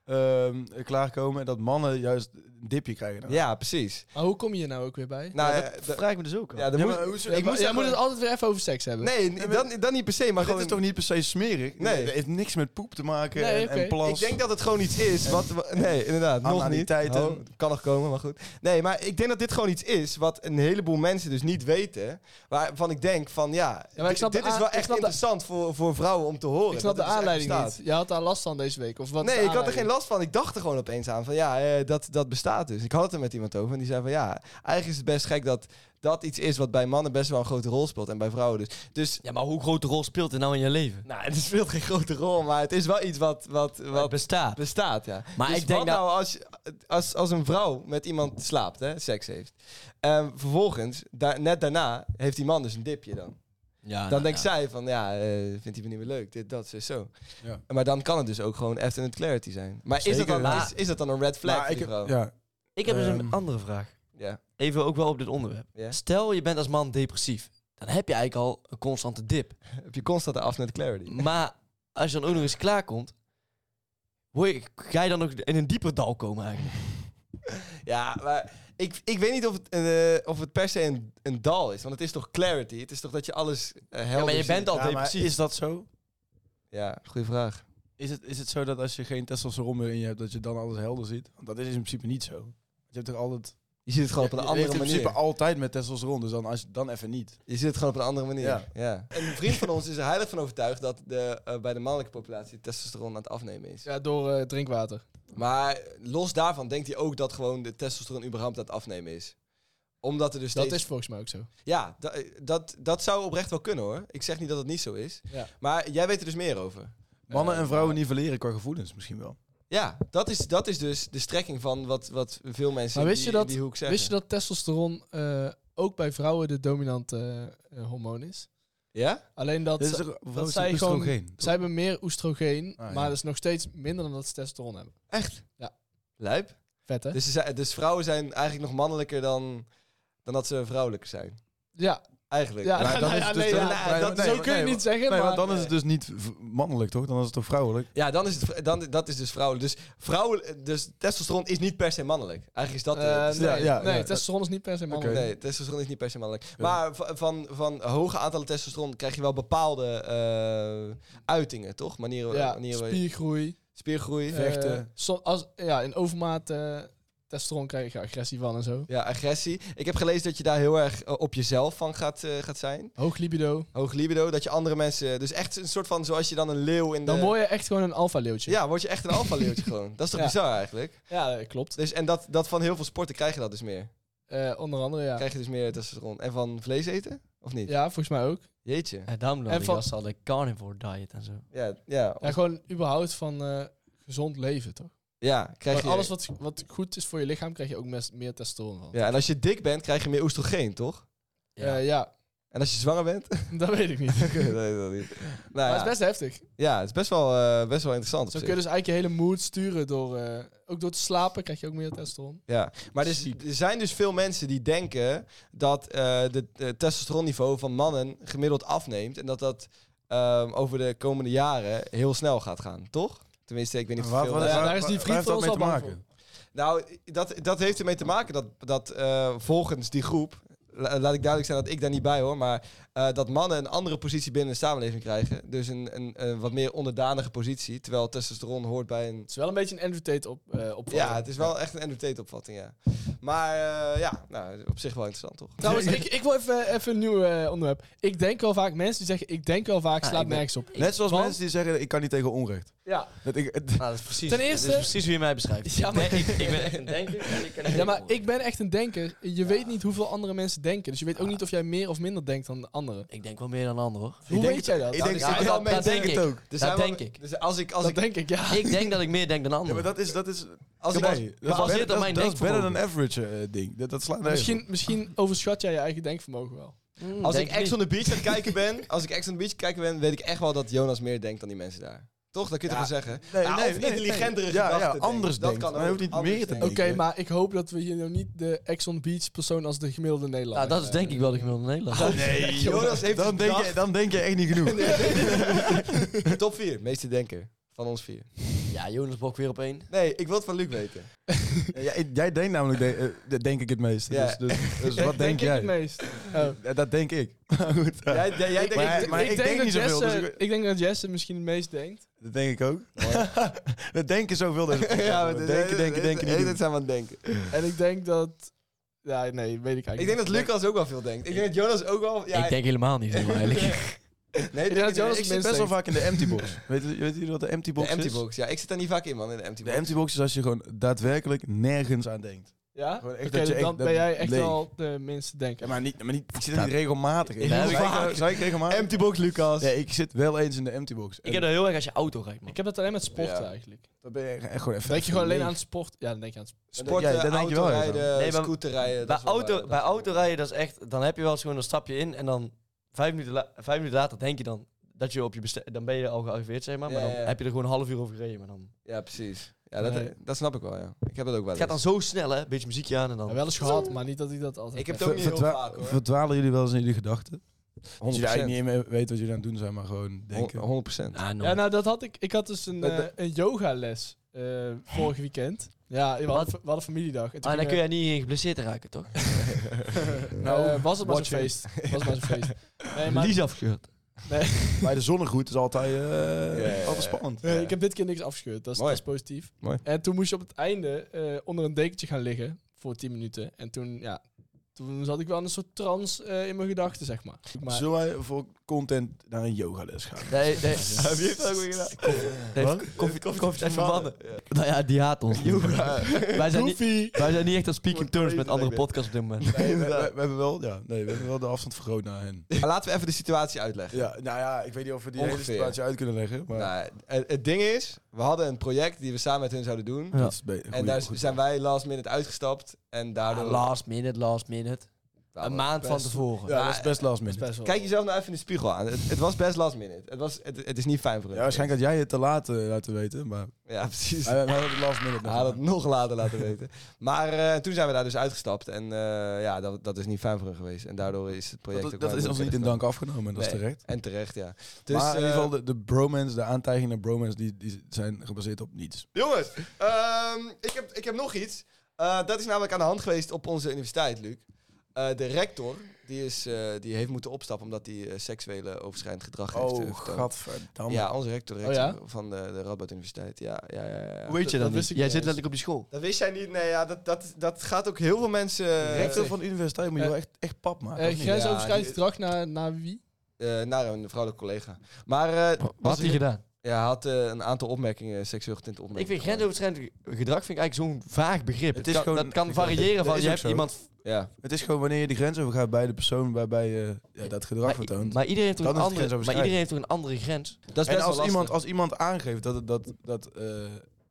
D: ehm, klaarkomen en dat mannen juist een dipje krijgen. daarna.
B: Ja, precies.
E: Maar hoe kom je hier nou ook weer bij?
B: Nou,
C: Ja,
B: ja,
C: dat
B: dat-
C: vraag ik me dus ook af.
B: ja, dan
D: Ja,
B: moet-
D: maar hoezo-
B: ik
D: maar-
B: moest
E: jij
B: daar
E: moet het
B: gewoon-
E: altijd weer even over seks hebben.
B: Nee, dan, dan niet per se, maar
D: Maar dit
B: gewoon...
D: is toch niet per se smerig?
B: Nee.
D: Het heeft niks met poep te maken
E: Nee,
D: en,
E: oké.
D: en plas.
B: Ik denk dat het gewoon iets is wat... wa- Nee, inderdaad, nog niet.
D: Analiteiten.
B: Oh, kan nog komen, maar goed. Nee, maar ik denk dat dit gewoon iets is wat een heleboel mensen dus niet weten. Waarvan ik denk van, ja,
E: maar ik
B: dit-
E: snap de
B: dit is
E: aan-
B: wel
E: ik
B: echt
E: snap de-
B: interessant voor, voor vrouwen om te horen.
E: ik snap de
B: dat het dus echt
E: aanleiding
B: bestaat.
E: niet. Je had daar last van deze week. Of wat is
B: nee,
E: de
B: ik had er geen
E: aanleiding?
B: last van. Ik dacht er gewoon opeens aan van ja, eh, dat, dat bestaat dus. Ik had het er met iemand over en die zei van ja, eigenlijk is het best gek dat dat iets is wat bij mannen best wel een grote rol speelt en bij vrouwen dus. Dus
C: Ja, maar hoe grote rol speelt het nou in je leven?
B: nou, het speelt geen grote rol, maar het is wel iets wat, wat,
C: Wat
B: wat
C: bestaat?
B: bestaat, ja.
C: Maar
B: Dus
C: ik denk
B: wat
C: dat...
B: nou als, je- als, als een vrouw met iemand slaapt, hè, seks heeft. En vervolgens, daar, net daarna, heeft die man dus een dipje dan.
C: Ja,
B: Dan
C: nou,
B: denkt
C: ja.
B: zij van, ja, eh, vindt hij me niet meer leuk, dit, dat, zo, zo.
D: Ja.
B: Maar dan kan het dus ook gewoon definite clarity zijn. Maar is dat,
D: Zeker.
B: dan, is, is dat dan een red flag
D: Maar
B: voor
D: ik,
B: die vrouw?
D: ja,
C: Ik heb dus een
D: Ehm.
C: andere vraag.
B: Ja.
C: Even ook wel op dit onderwerp.
B: Ja.
C: Stel, je bent als man depressief. Dan heb je eigenlijk al een constante dip.
B: Heb je constant af net clarity?
C: Maar als je dan ook nog eens klaarkomt... Word je, ga je dan ook in een dieper dal komen eigenlijk?
B: Ja, maar ik, ik weet niet of het, eh, of het per se een, een dal is. Want het is toch clarity? Het is toch dat je alles eh, helder
C: Ja, maar je
B: ziet?
C: bent al
D: Ja, maar
C: depressief.
D: is dat zo?
B: Ja, goede vraag.
D: Is het, is het zo dat als je geen testosteron meer in je hebt, dat je dan alles helder ziet? Want dat is in principe niet zo. Je hebt toch altijd...
B: Je ziet het gewoon op
D: je
B: een andere
D: leeft in
B: manier.
D: principe altijd met testosteron, dus dan, als, je- dan even niet.
B: Je ziet het gewoon op een andere manier. Ja.
D: Ja.
B: Een vriend van ons is er heilig van overtuigd dat de, eh, bij de mannelijke populatie testosteron aan het afnemen is.
E: Ja, door eh, drinkwater.
B: Maar los daarvan denkt hij ook dat gewoon de testosteron überhaupt aan het afnemen is. Omdat er dus
E: Dat
B: steeds...
E: is volgens mij ook zo.
B: Ja, da- eh, dat, dat zou oprecht wel kunnen hoor. Ik zeg niet dat het niet zo is.
E: Ja.
B: Maar jij weet er dus meer over.
D: Mannen
B: Eh,
D: en vrouwen nivelleren qua gevoelens misschien wel.
B: Ja, dat is, dat is dus de strekking van wat, wat veel mensen
E: Maar
B: in
E: wist
B: die,
E: je dat-
B: in die hoek zeggen.
E: Wist je dat testosteron eh, ook bij vrouwen de dominante eh, eh, hormoon is?
B: Ja?
E: Alleen dat,
D: Dit
E: ze-
D: toch- vrouwen
E: dat
D: zijn
E: zij gewoon-
D: oestrogeen, toch?
E: zij hebben meer oestrogeen,
D: Ah, ja.
E: maar dat is nog steeds minder dan dat ze testosteron hebben.
B: Echt?
E: Ja.
B: Lijp?
E: Vet, hè?
B: Dus, ze zijn- dus vrouwen zijn eigenlijk nog mannelijker dan, dan dat ze vrouwelijker zijn.
E: ja,
B: Eigenlijk.
E: ja,
D: Maar
E: nou,
D: dan
E: nou
D: is
E: ja,
D: het dus
E: nee,
D: de-
E: ja,
D: nee,
E: dat-
D: nee,
E: zo
D: nee,
E: kun je
D: nee,
E: niet zeggen,
D: Nee,
E: maar...
D: want dan is het dus niet v- mannelijk, toch? Dan is het toch vrouwelijk?
B: Ja, dan is het, vr- dan, dat is dus vrouwelijk. Dus, vrouwen, dus testosteron is niet per se mannelijk. Eigenlijk is dat...
E: Eh,
B: de- dus
E: nee,
D: ja, ja,
E: nee,
D: ja.
E: testosteron is niet per se mannelijk.
B: Nee, testosteron is niet per se mannelijk.
D: Ja.
B: Maar va- van, van hoge aantallen testosteron krijg je wel bepaalde eh, uitingen, toch? Manieren,
E: Ja,
B: manieren waar je-
E: spiergroei.
B: spiergroei.
D: Ja. Vechten.
E: eh, so- als, ja, in overmaat eh, testosteron krijg je agressie van en zo.
B: Ja, agressie. Ik heb gelezen dat je daar heel erg eh, op jezelf van gaat, eh, gaat zijn.
E: Hoog libido.
B: Hoog libido, dat je andere mensen... Dus echt een soort van, zoals je dan een leeuw in de...
E: Dan word je echt gewoon een alfa-leeuwtje.
B: Ja, word je echt een alfa-leeuwtje gewoon. Dat is toch
E: Ja.
B: bizar eigenlijk?
E: Ja, eh, klopt.
B: Dus, en dat, dat van heel veel sporten krijg je dat dus meer.
E: Eh, onder andere, ja.
B: Krijg je dus meer testosteron. En van vlees eten? Of niet?
E: Ja, volgens mij ook.
B: Jeetje.
C: En daarom dan
E: En
C: die
E: van-
C: gasten al de carnivore diet en zo.
B: Ja, ja,
E: Ja, gewoon überhaupt van eh, gezond leven, toch?
B: ja krijg je...
E: Gewoon alles wat, wat goed is voor je lichaam, krijg je ook mes- meer testosteron van.
B: Ja, en als je dik bent, krijg je meer oestrogeen, toch?
E: Eh, ja,
B: En als je zwanger bent?
E: dat weet ik niet.
B: Oké, dat weet ik wel niet.
E: Maar
B: Nou, ja.
E: het is best heftig.
B: ja, het is best wel, eh, best wel interessant. op
E: Zo
B: zich.
E: kun je dus eigenlijk je hele mood sturen door... eh, ook door te slapen krijg je ook meer testosteron.
B: Ja, maar dus, er
E: Ziek.
B: zijn dus veel mensen die denken dat eh de, de testosteronniveau van mannen gemiddeld afneemt. En dat dat ehm, over de komende jaren heel snel gaat gaan, toch? Tenminste, ik weet niet of
D: Waar-
B: veel
D: waar-
B: mensen-
E: daar
D: waar-
E: is die
D: waar
E: vriend
D: heeft
E: van
D: dat
E: ons
D: mee
E: al
D: te
E: bang
D: maken?
B: Nou, dat, dat heeft ermee te maken dat, dat eh, volgens die groep, la- laat ik duidelijk zijn dat ik daar niet bij hoor, maar eh, dat mannen een andere positie binnen de samenleving krijgen. Dus een, een, een wat meer onderdanige positie, terwijl testosteron hoort bij een...
E: Het is wel een beetje een Andrew Tate op, eh opvatting.
B: Ja, het is wel echt een Andrew Tate opvatting, ja. Maar eh, ja, nou, op zich wel interessant, toch?
E: Trouwens, ik, ik wil even, even een nieuw eh, onderwerp. Ik denk wel vaak, mensen die zeggen, ik denk wel vaak,
C: Ah,
E: slaat
C: ik ben-
E: nergens op.
D: Net zoals
E: Want-
D: mensen die zeggen, Dus ik kan niet tegen onrecht.
E: Ja.
D: Dat ik, het-
C: Nou, dat is precies,
E: Ten
C: dit
E: eerste-
C: is precies hoe je mij beschrijft.
E: Ja, maar-
C: ik, ben, ik, ik ben echt een denker. en ik ken
E: Ja, maar ik ben echt een denker. Je weet niet hoeveel andere mensen denken. Dus je weet ook niet of jij meer of minder denkt dan de anderen.
C: Ik denk wel meer dan anderen. hoor.
E: Hoe
B: denk
E: weet
B: het-
E: jij dat?
B: ik denk-
E: Nou,
C: Ja,
B: wel
C: dat-
B: mee
C: dat
B: denken.
C: denk ik.
B: Er zijn wel-
C: denk ik.
B: Dus als ik... Als
E: dat
B: ik,
E: denk ik, ja.
C: Ik denk dat ik meer denk dan
D: ja,
C: anderen.
D: maar dat is, dat is
B: als ik
D: Nee, dat, is
C: gebaseerd
D: better-
C: op
D: dat-
C: mijn
D: dat is better
C: denkvermogen.
D: dan average eh, ding. Dat, dat slaat nergens
E: misschien,
D: op.
E: misschien overschat jij je eigen denkvermogen wel.
C: Hmm,
B: Als
C: denk
B: ik
C: ik
B: Ex
C: niet.
B: on the Beach aan het kijken ben, als ik Ex on the Beach aan het kijken ben, weet ik echt wel dat Jonas meer denkt dan die mensen daar. Toch? Dat kun je
D: Ja.
B: toch wel zeggen?
D: Nee,
B: Ja,
D: nee,
B: of
D: nee,
B: intelligentere
D: nee. Ja, ja,
B: gedachten denken.
D: anders
B: Dat
D: denkt.
B: kan
D: Maar
B: ook.
D: je hoeft niet
B: Anders
D: meer te
B: denken.
E: Oké,
D: denken. Ik, eh,
E: maar ik hoop dat we hier nou niet de Ex on Beach persoon als de gemiddelde Nederlander
C: Nou, dat is denk ik wel de gemiddelde Nederlander.
D: Nee,
B: Jonas heeft dus
D: dan, denk je,
B: bedacht.
D: dan denk je echt niet genoeg.
B: Top 4, meeste denker. Van ons vier.
C: Ja, Jonas Bok weer op één.
B: Nee, ik wil het van Luc weten.
D: Ja, ik- jij denkt namelijk, de- eh, dat denk ik het meest.
B: Ja.
D: Dus, dus, dus wat denk,
E: ik
D: jij?
E: het meest.
D: Ja, Dat denk ik. Goed, ja.
B: Jij, jij, jij denkt...
D: Maar- maar ik denk niet
E: dat
D: zoveel,
E: Jesse-
D: dus ik-
E: ik... denk dat Jesse misschien het meest denkt.
D: Dat denk ik ook. dat denken zoveel. Deze
B: Ja,
D: ja,
B: maar
D: denken,
B: dit-
D: denken,
B: dit-
D: denken,
B: dit-
D: denken.
B: dit- dit
D: niet doen.
B: zijn we aan het denken.
E: En ik denk dat... Ja, nee, weet ik eigenlijk
B: Ik denk dat Lucas ook wel veel denkt. Ik denk dat Jonas ook wel... Ja,
C: ik denk helemaal niet, helemaal eigenlijk.
B: nee,
E: dat
B: ik-
E: Jonas
D: Ik
B: ik-
D: zit
E: minst
D: best wel
E: denkt.
D: vaak in de empty box. weet, je- weet jullie wat de empty
B: De
D: box
B: empty
D: is?
B: box. Ja, ik zit daar niet vaak in, man. In de empty
D: De
B: box.
D: empty box is als je gewoon daadwerkelijk nergens aan denkt.
E: Ja?
D: Gewoon
E: Oké,
D: echt dat je
E: dan
D: echt-
E: ben
D: dat
E: jij echt
D: leeg.
E: wel de minste denker.
D: Ja, maar niet, maar niet, ik zit er niet regelmatig in.
C: Heel
D: Zou ik-
C: vaak.
D: Zou ik regelmatig?
B: Empty box, Lucas.
D: Nee, ik zit wel eens in de empty box.
C: Ik heb dat heel erg als je auto rijdt, man.
E: Ik heb dat alleen met sporten
B: Ja.
E: eigenlijk.
D: Dan ben je echt gewoon even...
E: Denk je gewoon alleen
D: leeg.
E: aan het sport? Ja, dan denk je aan het sport.
B: Sporten,
D: Ja, dat denk je wel, ja.
B: autorijden,
C: Nee, maar-
B: scooterrijden. dat
C: bij
B: is wel waar,
C: auto,
B: dat
C: bij
B: is wel waar.
C: autorijden, dat is echt... Dan heb je wel eens gewoon een stapje in en dan... Vijf minuten, la- vijf minuten later denk je dan dat je op je bestel- Dan ben je al gearriveerd, zeg maar. Maar
B: Ja,
C: dan
B: ja.
C: heb je er gewoon een half uur over gereden. Maar dan...
B: Ja, precies. Ja, dat,
E: Nee.
B: dat snap ik wel, ja. Ik heb het ook wel
C: Het gaat dan
B: eens.
C: zo snel, hè. Beetje muziekje aan en dan...
E: Ja, wel eens gehad, maar niet dat ik dat altijd
B: Ik heb
E: heb.
B: het ook niet heel
D: Verdwa-
B: vaak, hoor.
D: Verdwalen jullie wel eens in jullie gedachten? Dat jullie
B: 100%.
D: eigenlijk niet meer weten wat jullie aan het doen zijn, maar gewoon denken.
B: 100 procent.
C: Ah,
E: Ja, nou dat had ik. Ik had dus een,
B: Dat-
E: eh een yogales eh vorig weekend. Ja, we hadden, we hadden familiedag. En toen
C: Ah, dan
E: gingen
C: kun jij niet geblesseerd raken, toch?
E: we- nou, eh, was het maar zo'n
D: watch it.
E: feest. Was het maar zo'n feest. Nee, maar,
C: Lies afgescheurd.
D: Bij de zonnegroet is altijd, eh,
B: ja, ja.
D: altijd spannend.
E: nee, ik heb dit keer niks afgescheurd. Dat is, dat
B: Mooi.
E: is positief.
B: Mooi.
E: En toen moest je op het einde eh, onder een dekentje gaan liggen voor 10 minuten. En toen, ja, toen zat ik wel in een soort trance eh, in mijn gedachten, zeg maar. maar
D: Zullen wij voor content naar een yogales gaan?
C: Nee, nee. Heb je het ook weer gedaan? Koffie, koffie, koffie, koffie verbannen. Nou ja, die haat ons. Wij zijn, niet,
E: Goofy!
C: wij zijn niet echt aan speaking terms met
B: weten,
C: andere
B: denk ik.
C: podcasts op dit moment.
D: Nee, we, we- we hebben wel, ja, nee, we hebben wel de afstand vergroot naar hen.
B: Maar laten we even de situatie uitleggen.
D: Ja, nou ja, ik weet niet of we die hele
B: Ongeveer.
D: situatie uit kunnen leggen, maar
B: Nou, het, het ding is, we hadden een project die we samen met hun zouden doen.
C: Ja.
D: dat is be-
B: en
D: goeie-
B: daar
D: goed.
B: zijn wij last minute uitgestapt. En daardoor...
C: Ah, last minute, last minute.
B: Nou,
C: een maand van
B: best-
C: tevoren.
D: Ja, dat is best last minute.
E: Best wel.
B: Kijk jezelf nou even in de spiegel aan. Het, het was best last minute. Het, was, het, het is niet fijn voor hun.
D: Ja, waarschijnlijk had jij het te laat eh, laten weten, maar
B: Ja, precies.
D: wij, wij hebben het last minute nog
B: Hij had het
D: gedaan.
B: nog later laten weten. Maar eh, toen zijn we daar dus uitgestapt. En eh, ja, dat, dat is niet fijn voor hun geweest. En daardoor is het project...
D: Dat,
B: ook
D: dat
B: maar
D: is ons niet in dank afgenomen, dat is
B: Nee.
D: terecht.
B: En terecht, ja. Dus,
D: maar in ieder
B: eh,
D: geval, de, de bromance, de aantijgingen naar bromance, die, die zijn gebaseerd op niets.
B: Jongens, ehm, ik, heb, ik heb nog iets. Eh, dat is namelijk aan de hand geweest op onze universiteit, Luc. Eh, de rector, die, is, eh, die heeft moeten opstappen omdat hij eh, seksuele overschrijdend gedrag heeft eh,
D: Oh,
B: vertoond.
D: gadverdamme.
B: Ja, onze rector, de
E: Oh,
B: rector van de, de Radboud Universiteit. Ja, ja, ja. ja, ja.
C: Hoe weet je
E: dat
C: dat, niet?
E: wist ik
C: Jij
E: niet
C: zit
E: eens.
C: letterlijk op die school.
B: Dat wist jij niet. Nee, ja, dat, dat, dat gaat ook heel veel mensen... eh,
D: Rector van de universiteit moet je
E: eh,
D: wel echt, echt pap maken.
E: Eh,
D: of niet?
E: grensoverschrijdend
B: Ja,
E: gedrag naar, naar wie?
B: eh, naar een vrouwelijke collega. Maar eh,
C: Wat had hij gedaan?
B: ja, hij had eh, een aantal opmerkingen, seksueel getinte
C: Ik
B: opmerkingen.
C: vind grensoverschrijdend gedrag vind ik eigenlijk zo'n vaag begrip.
D: Het
C: Het
D: is
C: kan,
D: gewoon-
C: dat kan
D: ik weet-
C: variëren
D: dat
C: van
D: is
C: je
D: ook
C: hebt
D: zo.
C: iemand...
B: Ja,
D: Het is gewoon wanneer je de grens overgaat bij de persoon waarbij je ja, dat gedrag
C: Maar,
D: vertoont.
C: maar iedereen heeft toch
D: Dan
C: een
D: is het
C: andere, maar
D: grensoverschrijdend.
C: iedereen heeft toch een andere grens?
B: dat is best
D: en
B: wel
D: als
B: lastig.
D: iemand, als iemand aangeeft dat, het- dat, dat eh,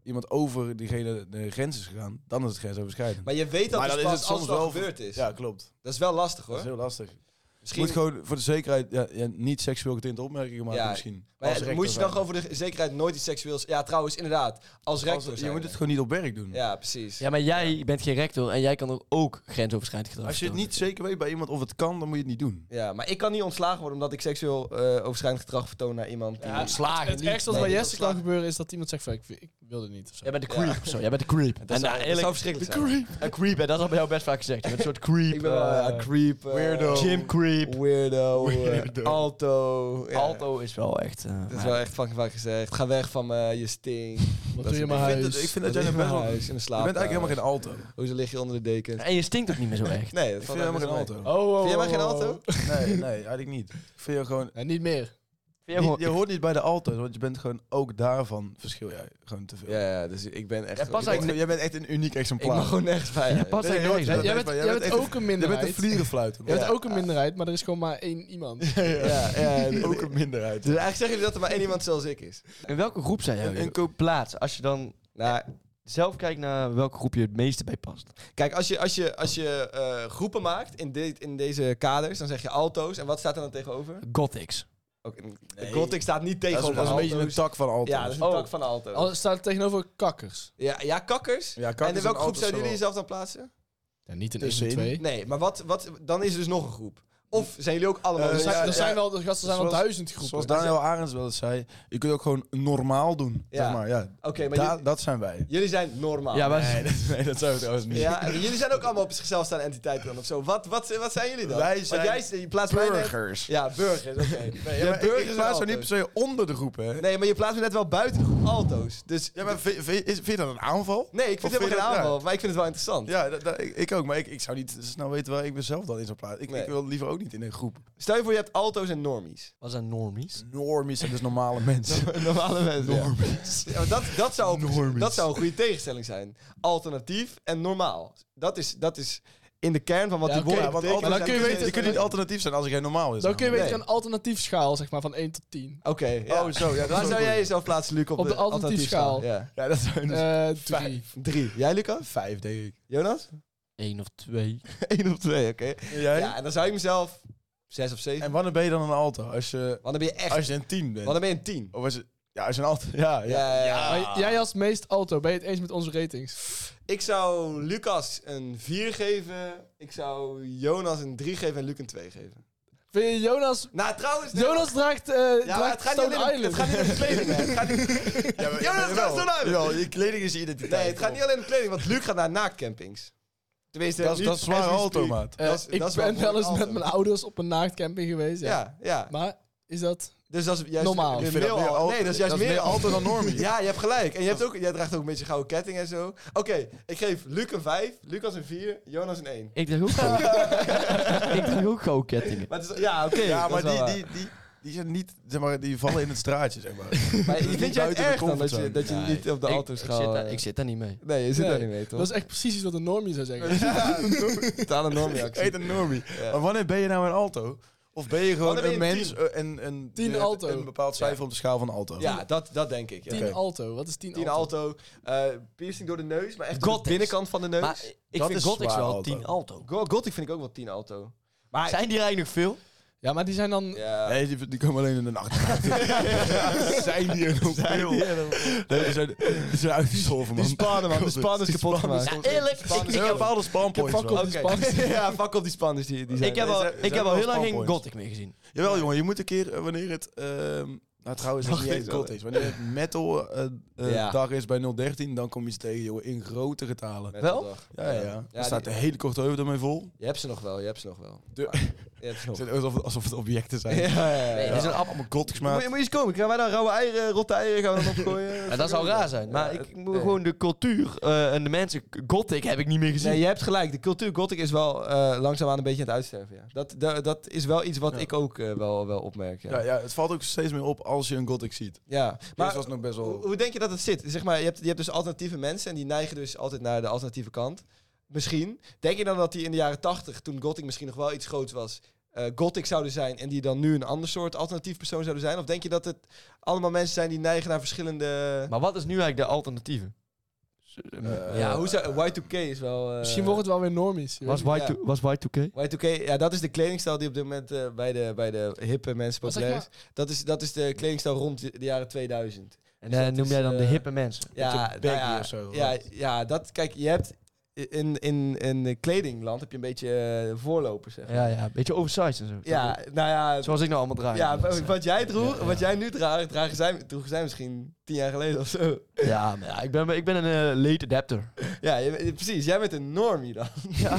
D: iemand over diegene de grens is gegaan, dan is het grensoverschrijdend.
B: Maar je weet dat,
D: Maar
B: dus
D: dan
B: pas
D: is het soms
B: als dat
D: wel-
B: gebeurd is.
D: ja, klopt.
B: Dat is wel lastig,
D: Dat is
B: hoor.
D: heel lastig. Je
B: Misschien...
D: moet gewoon voor de zekerheid ja, ja, niet seksueel getinte opmerkingen maken
B: Ja,
D: misschien.
B: Maar
D: Als
B: ja,
D: rector
B: moet je dan
D: zijn.
B: gewoon voor de zekerheid nooit iets seksueels... Ja, trouwens, inderdaad. Als
D: Als-
B: rector
D: je
B: zijn
D: moet
B: we.
D: het gewoon niet op werk doen.
B: Ja, precies.
C: Ja, maar jij bent geen rector en jij kan er ook grensoverschrijdend gedrag
D: Als je het
C: vertonen.
D: niet zeker weet bij iemand of het kan, dan moet je het niet doen.
B: Ja, maar ik kan niet ontslagen worden omdat ik seksueel eh overschrijdend gedrag vertoon naar iemand die...
E: Ja,
B: Ja,
C: Slagen
E: Het
C: niet.
E: ergste wat
B: nee,
E: bij
B: niet
E: Jesse kan
B: ontslagen.
E: gebeuren is dat iemand zegt van ik, ik wil dit niet of zo.
C: Jij bent de creep of zo. Jij bent de creep.
B: dat, zou,
C: nou,
B: dat zou
C: eerlijk-
B: verschrikkelijk
C: de
B: zijn.
C: Een creep, hè, dat is al bij jou best vaak gezegd. Je bent een soort creep.
B: Ik ben wel ja,
C: eh,
B: creep. eh,
D: weirdo.
C: Gym creep.
B: Weirdo. eh,
D: Weirdo.
B: alto. ja.
C: Alto is wel echt... eh,
B: Dat is
C: maar-
B: wel echt fucking vaak gezegd. Ga weg van me, je stinkt. dat
E: Wat doe
B: is-
E: je in mijn
D: ik
E: huis?
D: vind dat- ik vind dat
B: Wat
D: jij
B: is
D: nog best
B: mijn
D: wel... Je
B: huis, in de slaap.
D: bent eigenlijk helemaal geen alto. Ik
B: Hoezo lig je onder de deken?
C: En je stinkt ook niet meer zo echt.
B: Nee, dat
D: vind
B: valt
D: je helemaal geen
B: eigenlijk
D: alto.
E: Oh, oh,
B: Vind jij mij
E: oh,
B: geen
E: oh,
B: alto?
E: oh.
D: Nee, nee, eigenlijk niet. Ik vind jou gewoon...
E: Nee, niet meer.
C: vind jou
D: Niet- je
C: gewoon-
D: hoort niet bij de altijd, want je bent gewoon ook daarvan verschil jij gewoon te veel.
B: Ja, ja, dus ik ben echt...
C: Ja, pas
B: ik ben-
C: eigenlijk-
D: Jij bent echt een uniek
B: ik
D: exemplaar.
B: mag gewoon nergens bij.
C: Ja, pas
D: Nee,
C: hij
D: nooit.
C: nergens, hè?
E: Jij
D: maar
E: bent,
D: jij
E: jij
D: bent
E: bent
D: echt-
E: ook een
D: Je bent
E: minderheid.
D: een vlierenfluit.
E: Jij
B: Ja.
E: bent ook een minderheid, maar er is gewoon maar één iemand.
B: Ja, ja, ja.
D: ook een minderheid.
B: Dus eigenlijk zeggen jullie dat er maar één iemand zoals ik is.
C: In welke groep zijn jij?
B: Een- een
C: plaats. Als je dan
B: Nou,
C: zelf kijkt naar welke groep je het meeste bij past.
B: Kijk, als je, als je, als je eh, groepen maakt in, dit, in deze kaders, dan zeg je alto's. En wat staat er dan tegenover?
C: Gothics.
B: Ook, de Gothic staat niet
D: Dat is,
B: tegenover
D: dat is een beetje een
B: alto's.
D: tak van altijd.
B: Ja, dat is een
C: Oh.
B: tak van alto's.
E: Al staat tegenover kakkers.
B: Ja, ja, kakkers.
D: Ja, dus kakkers
B: en in welke groep
D: en alto's
B: zouden
D: wel.
B: jullie jezelf dan plaatsen?
E: Ja, niet in
D: Tussenin.
E: 1 en 2.
B: Nee, maar wat, wat, dan is er dus nog een groep. Of zijn jullie ook allemaal...
D: Eh,
E: Er
B: dus-
E: zijn,
D: ja,
E: er zijn wel, de gasten zijn wel
D: Zoals-
E: duizend groepen.
D: Zoals Daniel Arends wel eens zei, je kunt ook gewoon normaal doen.
B: Ja.
D: Zeg maar, ja.
B: Oké, maar
D: Da-
B: jullie-
D: dat zijn wij.
B: jullie zijn normaal.
C: Ja, maar
D: nee, dat zijn we trouwens niet.
B: Ja, en jullie zijn ook allemaal op zichzelf staande entiteiten dan of zo. Wat, wat, wat zijn jullie dan?
D: Wij
B: Want
D: zijn
B: jij, je plaatst mij net-
D: Burgers.
B: Ja, burgers, oké.
D: Nee,
B: Ja,
D: maar ik- ik
B: burgers
D: plaats zo
B: en
D: niet per
B: alto's.
D: se onder de groep, hè.
B: Nee, maar je plaatst me net wel buiten de groep alto's. Dus
D: Ja, maar vind, vind- is- vind je dat een aanval?
B: Nee, ik vind
D: Of
B: het helemaal
D: vind je
B: geen
D: dat-
B: aanval, maar ik vind het wel interessant.
D: Ja, dat- dat- ik, ik ook, maar ik, ik zou niet snel weten waar ik mezelf dan in zou plaatsen. Ik,
B: Nee.
D: ik wil liever ook niet in een groep.
B: Stel je voor, je hebt alto's en normies.
C: Was dat normies?
D: Normies zijn dus normale mensen.
B: Normale mensen. ja. Ja, maar dat, dat, zou een,
D: Normies.
B: dat zou een goede tegenstelling zijn. Alternatief en normaal. Dat is, dat is in de kern van wat
E: Ja,
B: die
E: oké,
B: woorden
D: want
B: betekenen.
D: altijd, dan kun je,
E: kun je
D: weten, je kunt niet alternatief zijn als ik geen normaal is.
E: Dan kun je
D: namelijk.
E: weten
B: Nee.
E: een alternatief schaal, zeg maar, van 1 tot 10.
B: Oké, ja.
D: Oh, zo, ja, dat is
B: Waar
D: wel
B: zou
D: goed.
B: jij jezelf plaatsen, Luc, op,
E: Op de alternatief
B: alternatiefschaal?
E: schaal.
B: Ja.
D: Ja, dat zijn dus
E: Eh drie.
B: Drie. Jij, Lucas?
D: vijf, denk ik.
B: Jonas?
C: Eén of twee.
B: Eén of twee, oké.
D: En jij?
B: Ja, en dan zou ik mezelf zes of zeven...
D: En wanneer ben je dan een alto? Als je,
B: Want dan ben je echt...
D: als je een tien bent.
B: Want dan ben je een tien.
D: Of als je, ja, als je een alto... Ja, ja.
B: Ja, ja, ja.
E: Maar jij als meest alto, ben je het eens met onze ratings?
B: Ik zou Lucas een 4 geven. Ik zou Jonas een 3 geven en Luc een 2 geven.
E: Vind je Jonas...
B: Nou, trouwens... nee.
E: Jonas draagt, eh
B: Ja, maar
E: draagt
B: het gaat niet
E: Stone
B: alleen om- het gaat
E: Island.
B: niet om de kleding, hè. Het gaat niet-
D: Ja, maar-
B: Jonas,
D: jawel,
B: dat is dan uit.
D: jawel, je kleding is je identiteit.
B: Nee, het gaat niet alleen om de kleding, want Luc gaat naar naakcampings. Tenminste,
D: Dat is,
B: nu-
D: dat is zwaar
B: as we
D: alto,
B: speak.
D: maat.
E: Eh,
B: dat is-
E: ik
B: dat is wel
E: ben wel eens
B: alto.
E: met mijn ouders op een naaktcamping geweest. Ja.
B: Ja, ja.
E: Maar is dat...
B: Dus dat is juist
E: Normaal.
B: weer
E: Ik
D: vind
B: meer
D: dat meer
B: al-
D: alto-
B: Nee, dat is juist
D: dat is
B: meer
D: meer alto dan normie.
B: Ja, je hebt gelijk. En je hebt ook, jij draagt ook een beetje gouden ketting en zo. Oké, ik geef Luc een 5, Lucas een 4, Jonas een 1.
C: Ik draag ook gewoon, ik draag ook gewoon kettingen.
B: Maar het is, ja, oké.
D: Ja,
B: dat
D: maar
B: is
D: die,
B: wel
D: die, die, die zijn niet... Zeg maar, die vallen in het straatje, zeg maar.
B: waar. Maar
D: dat is
B: vind
D: niet
B: je het
D: buiten de
B: erg dan dat je,
D: comfortzone.
B: dat je
C: Nee,
B: niet op de
C: ik-
B: auto's eh.
C: ik, zit
B: gaat?
C: daar- ik zit daar niet mee.
B: Nee, je zit
E: Nee,
B: daar niet mee, toch?
E: Dat is echt precies wat een normie zou zeggen.
B: totale normie-actie.
D: Eet een normie.
B: Ja.
D: Maar wanneer ben je nou een alto? Of ben je gewoon
B: Wanneer ben
D: een
B: je een
D: mens eh, en een,
E: Tien
D: met
E: alto.
D: een bepaald cijfer op de schaal van alto?
B: Ja, dat, dat denk ik. Ja.
E: 10
D: Oké.
E: alto. Wat is 10
B: Tien
E: alto?
B: auto, eh, piercing door de neus, maar echt
C: Gothics.
B: de binnenkant van de neus.
C: Maar ik
D: dat
C: vind
D: is
C: Gothics
D: zwaar
C: wel
D: alto.
C: 10 alto.
B: Go- Gothic vind ik ook wel 10 auto. Maar
C: Zijn die er eigenlijk nog veel?
E: Ja, maar die zijn dan...
B: ja.
D: Nee, die, die komen alleen in de nacht. zijn die er nog veel? Nee, die zijn, die zijn uitgestorven, man.
B: Die spannen, man. De span is kapot gemaakt.
C: Ja, eerlijk. Ik,
D: Er
C: ik
D: zijn
C: heb,
D: bepaalde spanpoints
E: fuck op.
D: wel.
E: die
B: Oké.
E: span.
B: ja, fuck op die span. Dus die, die zijn
C: ik heb
B: Nee,
C: al,
D: zijn-
C: ik
D: zijn
C: heb al
D: wel
C: heel lang geen
D: spannend.
C: Gothic meer gezien.
D: Jawel, jongen. Je moet een keer, eh, wanneer het... ehm nou, trouwens, dat is
B: Dag
D: niet
B: is
D: echt
B: wel,
D: kot is. Wanneer het metal eh, eh,
B: Ja.
D: dag is bij 013, dan kom je ze tegen, jongen, in grote getalen.
B: met
C: wel?
B: de dag.
D: Ja, ja, ja.
B: Ja,
D: Dan
B: die- Oh.
D: staat de hele korte heuvel ermee vol.
B: Je hebt ze nog wel, je hebt ze nog wel.
D: De-
B: Maar- je hebt ze nog.
D: Het is alsof het, alsof het objecten zijn.
B: Ja, ja, ja.
C: Nee,
D: Die
C: dat
D: zijn allemaal gothics,
B: Moet,
D: maat.
B: je, moet je eens komen. Gaan wij dan rauwe eieren, rotte eieren gaan we dan opgooien?
C: Ja, dat zou raar zijn. Maar
B: Ja,
C: ik
B: het-
C: moet
B: nee.
C: gewoon de cultuur eh, en de mensen. Gothic heb ik niet meer gezien.
B: Nee, je hebt gelijk. De cultuur gothic is wel eh, langzaamaan een beetje aan het uitsterven. Ja. Dat, da- dat is wel iets wat
D: Ja.
B: ik ook eh, wel, wel opmerk. Ja.
D: Ja, ja, het valt ook steeds meer op als je een gothic ziet.
B: Ja,
D: Maar
B: maar
D: dat was nog best
B: hoe,
D: wel...
B: hoe denk je dat het zit? Zeg maar, je, hebt, je hebt dus alternatieve mensen en die neigen dus altijd naar de alternatieve kant. Misschien. Denk je dan dat die in de jaren tachtig, toen Gothic misschien nog wel iets groots was, eh, Gothic zouden zijn en die dan nu een ander soort alternatief persoon zouden zijn? Of denk je dat het allemaal mensen zijn die neigen naar verschillende...
C: Maar wat is nu eigenlijk de alternatieve?
D: Eh,
B: ja, hoe zou... Y2K is wel... eh,
E: Misschien wordt het wel weer normies. je
C: Was,
E: weet
C: y
B: ja.
C: was Y2K?
B: Y2K, ja, dat is de kledingstijl die op dit moment eh, bij, de, bij de hippe mensen
E: Maar zeg
B: populair is. Dat is. Dat is de kledingstijl rond de, de jaren 2000.
C: En
B: Dus
C: eh,
B: dat
C: noem
B: is,
C: jij dan de
B: eh,
C: hippe mensen?
B: Ja,
D: Beetje
B: nou
D: baggy
B: ja,
D: of zo,
B: Ja,
D: wat?
B: ja, dat, kijk, je hebt in, in, in de kledingland heb je een beetje eh, voorlopers. Zeg.
C: Ja, ja. Beetje oversized en zo.
B: ja, nou ja,
C: Zoals ik nou allemaal draai.
B: ja,
C: Dat is, eh,
B: wat jij droeg,
C: Ja, ja.
B: wat jij nu draagt, dragen zij, droegen zij misschien tien jaar geleden of zo.
C: Ja, maar ja, ik ben, ik ben een eh, late adapter.
B: Ja, je- je- precies. Jij bent een normie dan.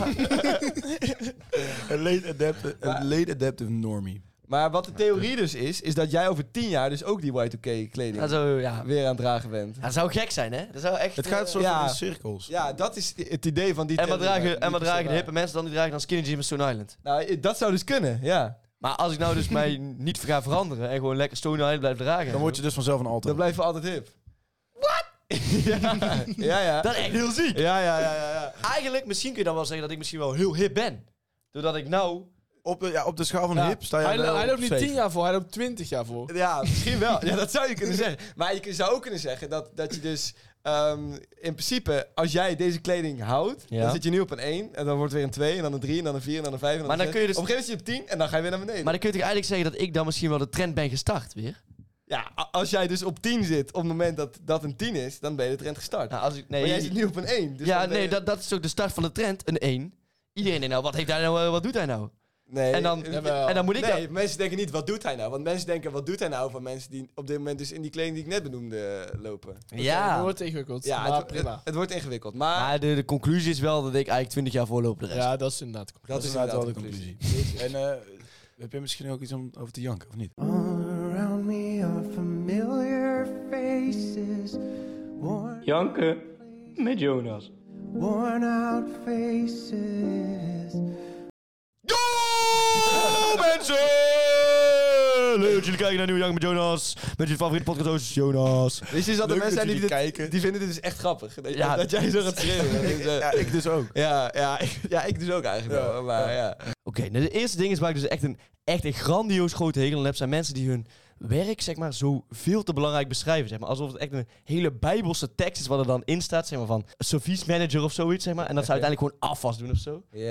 D: Een late adaptive,
B: Maar-
D: een late adaptive normie.
B: Maar wat de theorie dus is, is dat jij over tien jaar dus ook die Y2K kleding
C: Dat zou, ja.
B: weer aan het dragen bent.
C: dat zou gek zijn, hè? Dat zou echt...
D: Het gaat
C: eh,
D: zo
B: ja.
D: in cirkels.
B: Ja, dat is het idee van die
C: En wat
B: theorie, maar
C: dragen, en
B: eh,
C: wat
B: niet per se
C: dragen de
B: waar.
C: hippe mensen dan? Die dragen dan skinny jeans met Stone Island.
B: Nou, i- dat zou dus kunnen, ja.
C: Maar als ik nou dus mij niet ga veranderen en gewoon lekker Stone Island blijf dragen.
D: Dan word je dus vanzelf een alter.
B: Dan blijven we altijd hip. What? ja, ja.
C: Dat is echt heel ziek.
B: Ja, ja, ja, ja, ja.
C: Eigenlijk, misschien kun je dan wel zeggen dat ik misschien wel heel hip ben. Doordat ik nou...
D: op, de- ja, op de schaal van
E: Ja.
D: hip sta je
E: Hij, lo-
D: wel
E: hij loopt
D: op
E: niet
D: zeven.
E: 10 jaar voor, hij loopt 20 jaar voor.
B: Ja, misschien wel. Ja, dat zou je kunnen zeggen. Maar je kun- zou ook kunnen zeggen dat, dat je dus... ehm, in principe, als jij deze kleding houdt,
C: Ja.
B: dan zit je nu op een 1. En dan wordt weer een 2, en dan een 3, en dan een 4, en dan een 5. En dan
C: Maar dan
B: een
C: kun je dus-
B: Op een gegeven moment zit je op 10, en dan ga je weer naar beneden.
C: Maar dan kun je toch eigenlijk zeggen dat ik dan misschien wel de trend ben gestart weer?
B: Ja, a- als jij dus op 10 zit, op het moment dat dat een 10 is, dan ben je de trend gestart.
C: Nou, als ik, nee,
B: maar jij zit nu op een 1. Dus
C: ja,
B: dan ben
C: nee,
B: je-
C: dat, dat is ook de start van de trend, een 1. Iedereen denkt nou, wat heeft hij nou, eh, wat doet hij nou?
B: Nee,
C: en dan-
B: Eh, jawel.
C: en dan moet ik
B: Nee, mensen denken niet, wat doet hij nou? Want mensen denken, wat doet hij nou van mensen die op dit moment dus in die kleding die ik net benoemde eh, lopen?
E: Dat
C: Ja,
E: wordt ingewikkeld.
B: Ja,
E: maar
B: het, het-
E: prima.
B: Het, wordt ingewikkeld. Maar,
C: maar de, de conclusie is wel dat ik eigenlijk 20 jaar voorloop de rest.
E: ja, dat is inderdaad.
D: Dat is inderdaad wel de conclusie. En eh, heb je misschien ook iets om over te janken, of niet?
C: Oh.
F: Janken met Jonas.
C: Yo, mensen! Eh, Leuk dat jullie kijken naar Nieuw Jank met Jonas. Met je favoriete podcast, Jonas.
B: Weet je, dat de
D: Leuk
B: mensen zijn
D: dat
B: die,
D: jullie
B: dit-
D: kijken.
B: die vinden dit dus echt grappig. Dat,
C: Ja.
B: dat jij zo gaat schreeuwen. Dat is, eh,
D: Ja, ik dus ook.
B: ja, ja, ik- ja, ik dus ook eigenlijk wel. Maar ja.
C: Oké, nou, de eerste ding is waar ik dus echt een, echt een grandioos grote hekel aan heb, zijn mensen die hun werk zeg maar zo veel te belangrijk beschrijven. Zeg maar. Alsof het echt een hele bijbelse tekst is wat er dan in staat, zeg maar van service manager of zoiets, zeg maar. En dat ze uiteindelijk gewoon afwas doen of zo. Die,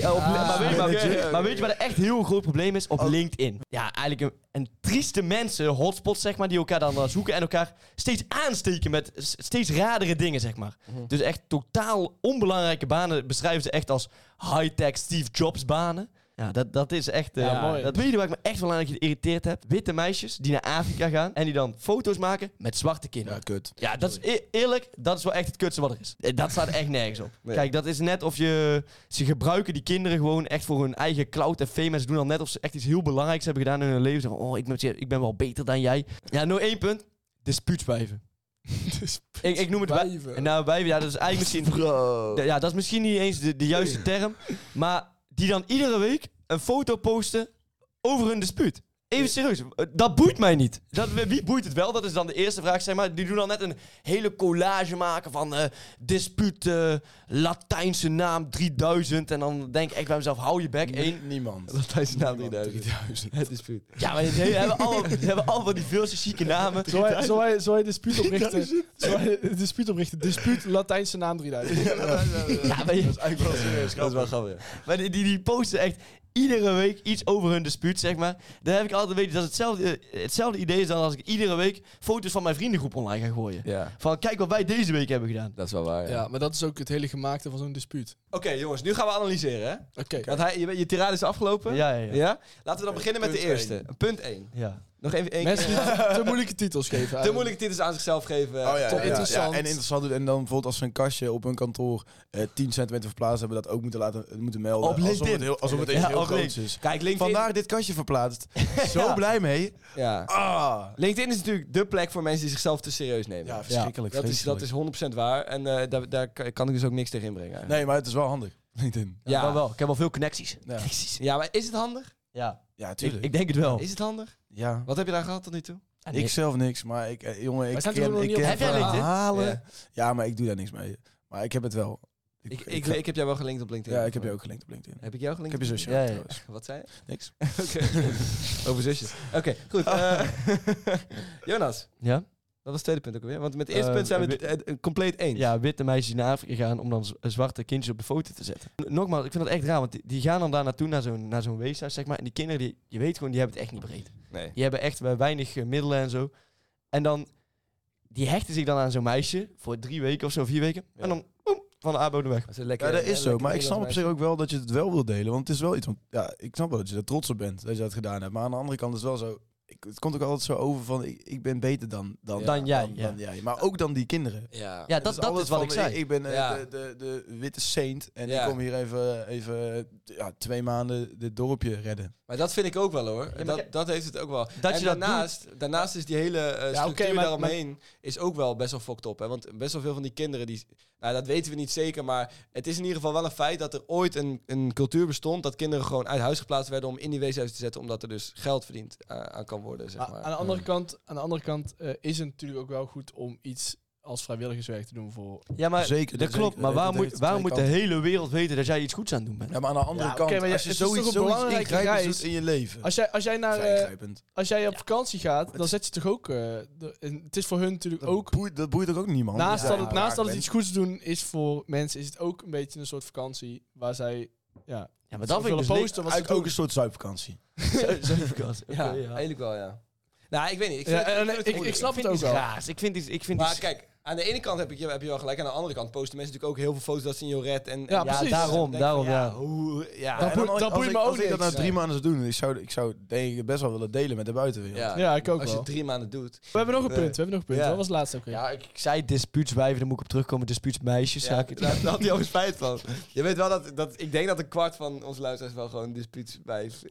C: eh, op- maar,
E: Ah.
C: weet, je- maar,
B: oké, Ah, oké.
C: maar weet je waar een echt heel groot probleem is? Op
E: Oh.
C: LinkedIn. Ja, eigenlijk een, een trieste mensen, hotspots zeg maar, die elkaar dan eh, zoeken en elkaar steeds aansteken met s- steeds radere dingen zeg maar.
E: Mhm.
C: Dus echt totaal onbelangrijke banen beschrijven ze echt als high-tech Steve Jobs banen. Ja, dat, dat is echt... eh,
E: Ja, mooi.
C: Dat weet je waar ik me echt wel aan geïrriteerd heb? Witte meisjes die naar Afrika gaan en die dan foto's maken met zwarte kinderen.
D: Ja, kut.
C: Ja, dat is eer- eerlijk, dat is wel echt het kutste wat er is. Eh, Dat staat echt nergens op. Kijk, dat is net of je... Ze gebruiken die kinderen gewoon echt voor hun eigen clout en fame. En ze doen dan net of ze echt iets heel belangrijks hebben gedaan in hun leven. Zeggen, oh, ik ben, ik ben wel beter dan jij. Ja, nog één punt. Dispuutswijven. Ik, ik noem het... wij-
E: Wijven.
C: en Nou, wijven, ja, dat is eigenlijk misschien... Ja, dat is misschien niet eens de, de juiste term. Maar die dan iedere week een foto posten over hun dispuut. Even serieus, eh, dat boeit mij niet. Dat, wie boeit het wel? Dat is dan de eerste vraag, zeg maar. Die doen dan net een hele collage maken van eh dispuut, eh, Latijnse naam 3000. En dan denk ik echt bij mezelf, hou je bek, één.
D: Niemand.
B: Latijnse naam
D: Niemand.
B: 3000. Het is puur.
C: Ja, maar die hebben allemaal, die hebben allemaal die veelste zieke namen.
E: Zal hij, zal hij, zal hij dispuut oprichten? Zal hij een dispuut oprichten? Dispuut Latijnse naam 3000.
C: Ja, maar je-
B: Dat is wel grappig.
C: Maar die, die, die posten echt iedere week iets over hun dispuut, zeg maar. Daar heb ik altijd weten dat het hetzelfde, eh, hetzelfde idee is dan als ik iedere week foto's van mijn vriendengroep online ga gooien.
B: Ja,
C: Van kijk wat wij deze week hebben gedaan.
B: dat is wel waar. ja.
E: Ja, maar dat is ook het hele gemaakte van zo'n dispuut.
B: Oké, jongens, nu gaan we analyseren. Hè?
E: Oké.
B: Want hij, je, je tirade is afgelopen.
C: Ja, ja, ja.
B: Laten we dan beginnen met de
D: punt
B: eerste. Punt 1.
C: Ja.
B: Nog even één
E: Mensen die
B: keer.
E: eh, te moeilijke titels geven.
B: Te moeilijke titels aan zichzelf geven.
D: Oh ja,
E: Top,
D: ja,
E: interessant.
D: ja, en interessant. doen. En dan bijvoorbeeld als ze een kastje op hun kantoor eh 10 centimeter verplaatst hebben, dat ook moeten laten moeten melden.
C: Op
D: Alsof
C: LinkedIn.
D: het, heel, alsof het eens
C: Ja,
D: heel
C: op
D: groot
C: LinkedIn.
D: is.
B: Kijk, LinkedIn...
D: Vandaag dit kastje verplaatst. Zo blij mee.
B: Ja.
D: Ah.
B: LinkedIn is natuurlijk de plek voor mensen die zichzelf te serieus nemen.
D: Ja, verschrikkelijk,
B: Dat, is, dat is 100% waar. En eh, daar, daar kan kan ik dus ook niks tegen inbrengen. eigenlijk.
D: Nee, maar het is wel handig. LinkedIn.
C: Ja.
B: Ja.
C: Wel, wel. Ik heb wel veel connecties.
D: Ja.
C: Connecties.
B: Ja, maar is het handig?
C: Ja.
D: Ja,
C: Ik,
D: tuurlijk.
C: ik denk het wel.
B: Is het handig?
D: ja.
B: Wat heb je daar gehad tot nu toe?
C: Ah, nee.
D: Ik zelf niks, maar ik, eh, jongen, ik
E: staan
D: ken,
E: toch nog
D: ik
E: niet op-
D: ken
C: Heb jij LinkedIn? Ah,
D: verhalen.
B: Ja.
D: Ja. maar ik doe daar niks mee. Maar ik heb het wel.
B: Ik, ik, ik heb jou wel gelinkt op LinkedIn.
D: ja, ik heb je ook gelinkt op LinkedIn.
B: Heb ik jou
D: Ik
B: gelinkt?
D: heb je zusje.
C: Ja, ja.
D: trouwens.
B: Wat zei je?
D: Niks.
B: Oké. Over zusjes. Oké, goed. eh, Jonas,
C: ja?
B: dat was het tweede punt ook alweer. Want met het eerste
C: Eh,
B: punt zijn we het
C: wi-
B: eh, eh, compleet eens.
C: ja, witte meisjes die naar Afrika gaan om dan z- zwarte kindjes op de foto te zetten. N- Nogmaals, ik vind dat echt raar, want die, die gaan dan daar naartoe naar zo'n, naar zo'n weeshuis, zeg maar. En die kinderen, die, je weet gewoon, die hebben het echt niet breed.
B: Nee.
C: Die hebben echt eh, weinig eh, middelen en zo. En dan, die hechten zich dan aan zo'n meisje voor drie weken of zo, vier weken. En dan, boem, van de aanbodem weg.
B: Dat is, een lekker,
D: Ja, dat is zo.
B: lekker
D: Maar ik snap op
B: Nederlands
D: zich ook wel dat je het wel wil delen. Want het is wel iets. Want, ja, ik snap wel dat je er trots op bent dat je dat gedaan hebt. Maar aan de andere kant is het wel zo. ik, het komt ook altijd zo over van, ik, ik ben beter dan, dan,
B: Ja.
C: Dan jij,
D: dan,
C: ja.
D: dan jij. Maar ook dan die kinderen.
B: Ja.
C: Ja, dat,
D: Dus
C: dat
D: altijd
C: is wat
D: van,
C: ik zei.
D: Ik, ben eh,
B: Ja.
D: de, de, de witte saint en
B: Ja.
D: ik kom hier even, even eh, ja, twee maanden dit dorpje redden.
B: Maar dat vind ik ook wel hoor.
C: maar
B: dat,
C: kijk-
B: dat heeft het ook wel.
C: Dat
B: en
C: je dat
B: daarnaast, daarnaast is die hele eh, structuur
E: oké, maar-
B: daaromheen is ook wel best wel fucked op. Hè? Want best wel veel van die kinderen, die, nou, dat weten we niet zeker. Maar het is in ieder geval wel een feit dat er ooit een, een cultuur bestond. dat kinderen gewoon uit huis geplaatst werden om in die weeshuis te zetten. omdat er dus geld verdiend eh, aan kan worden. Zeg
E: Maar
B: maar.
E: Ah, aan de andere kant, aan de andere kant eh, is het natuurlijk ook wel goed om iets als vrijwilligerswerk te doen voor.
C: Ja, maar
D: Zeker,
C: dat
D: zeker.
C: klopt. Maar
D: Dat
C: waarom
D: heeft
C: moet, waarom
D: twee
C: moet de
D: kanten.
C: hele wereld weten dat jij iets goeds aan het doen bent?
D: Ja, maar aan de andere
E: Ja,
D: kant,
E: oké, maar ja,
D: als je
E: het is toch
D: zoiets,
E: een
D: zoiets
E: belangrijke
D: ingrijpends
E: reis.
D: doet in je leven.
E: Als jij, als jij naar,
D: Vrij
E: eh,
D: ingrijpend.
E: als jij op vakantie gaat, dan zet je toch ook. eh, de- en het is voor hun natuurlijk
D: Dat,
E: ook.
D: boeit, dat boeit ook ook niemand.
E: Naast,
D: Ja,
E: dat het,
D: ja,
E: naast dat het
D: raak
E: iets goeds doen is voor mensen, is het ook een beetje een soort vakantie waar zij. Ja,
C: Ja, maar dat vind ik
E: willen
C: dus niks.
E: posten
D: bent.
E: wat ze
D: Eigenlijk ook
E: doen.
D: een soort zuipvakantie.
C: Zuiverkast. Oké,
B: ja,
C: ja.
B: eigenlijk wel, ja. Nou, ik weet niet. Ik, vind
E: Ja,
B: het- ik
E: en-
B: vind
E: en-
B: het
E: ik, ik
B: moeilijk.
E: snap het ook
C: Iets
E: wel.
C: raars. Ik vind iets... Ik vind
B: Maar
C: iets-
B: kijk, aan de ene kant heb, ik je, heb je wel gelijk. Aan de andere kant posten mensen natuurlijk ook heel veel foto's dat ze in Joret. En, en-
E: Ja, precies.
C: daarom,
B: Ik denk van,
C: daarom, ja.
B: hoe- ja,
D: Ja,
E: Dat
D: en
E: boeit-
D: dan-
E: dat
D: als
E: boeit
D: ik-
E: me ook
D: Als ik dat
E: niks.
D: na drie maanden zou doen, ik zou, ik zou denk ik best wel willen delen met de buitenwereld.
B: ja.
E: Ja, ik ook
B: Als je
E: wel.
B: het drie maanden doet.
E: We hebben nog een punt, we hebben nog een punt.
B: Ja.
E: Dat was het laatste ook weer.
C: Ja, ik, ik zei dispuutswijven, daar moet ik op terugkomen. Dispuutsmeisjes,
B: Ja,
C: ja.
B: daar, daar had hij al spijt van. Je weet wel dat, dat ik denk dat een kwart van onze luisteraars wel gewoon dispuut bij is.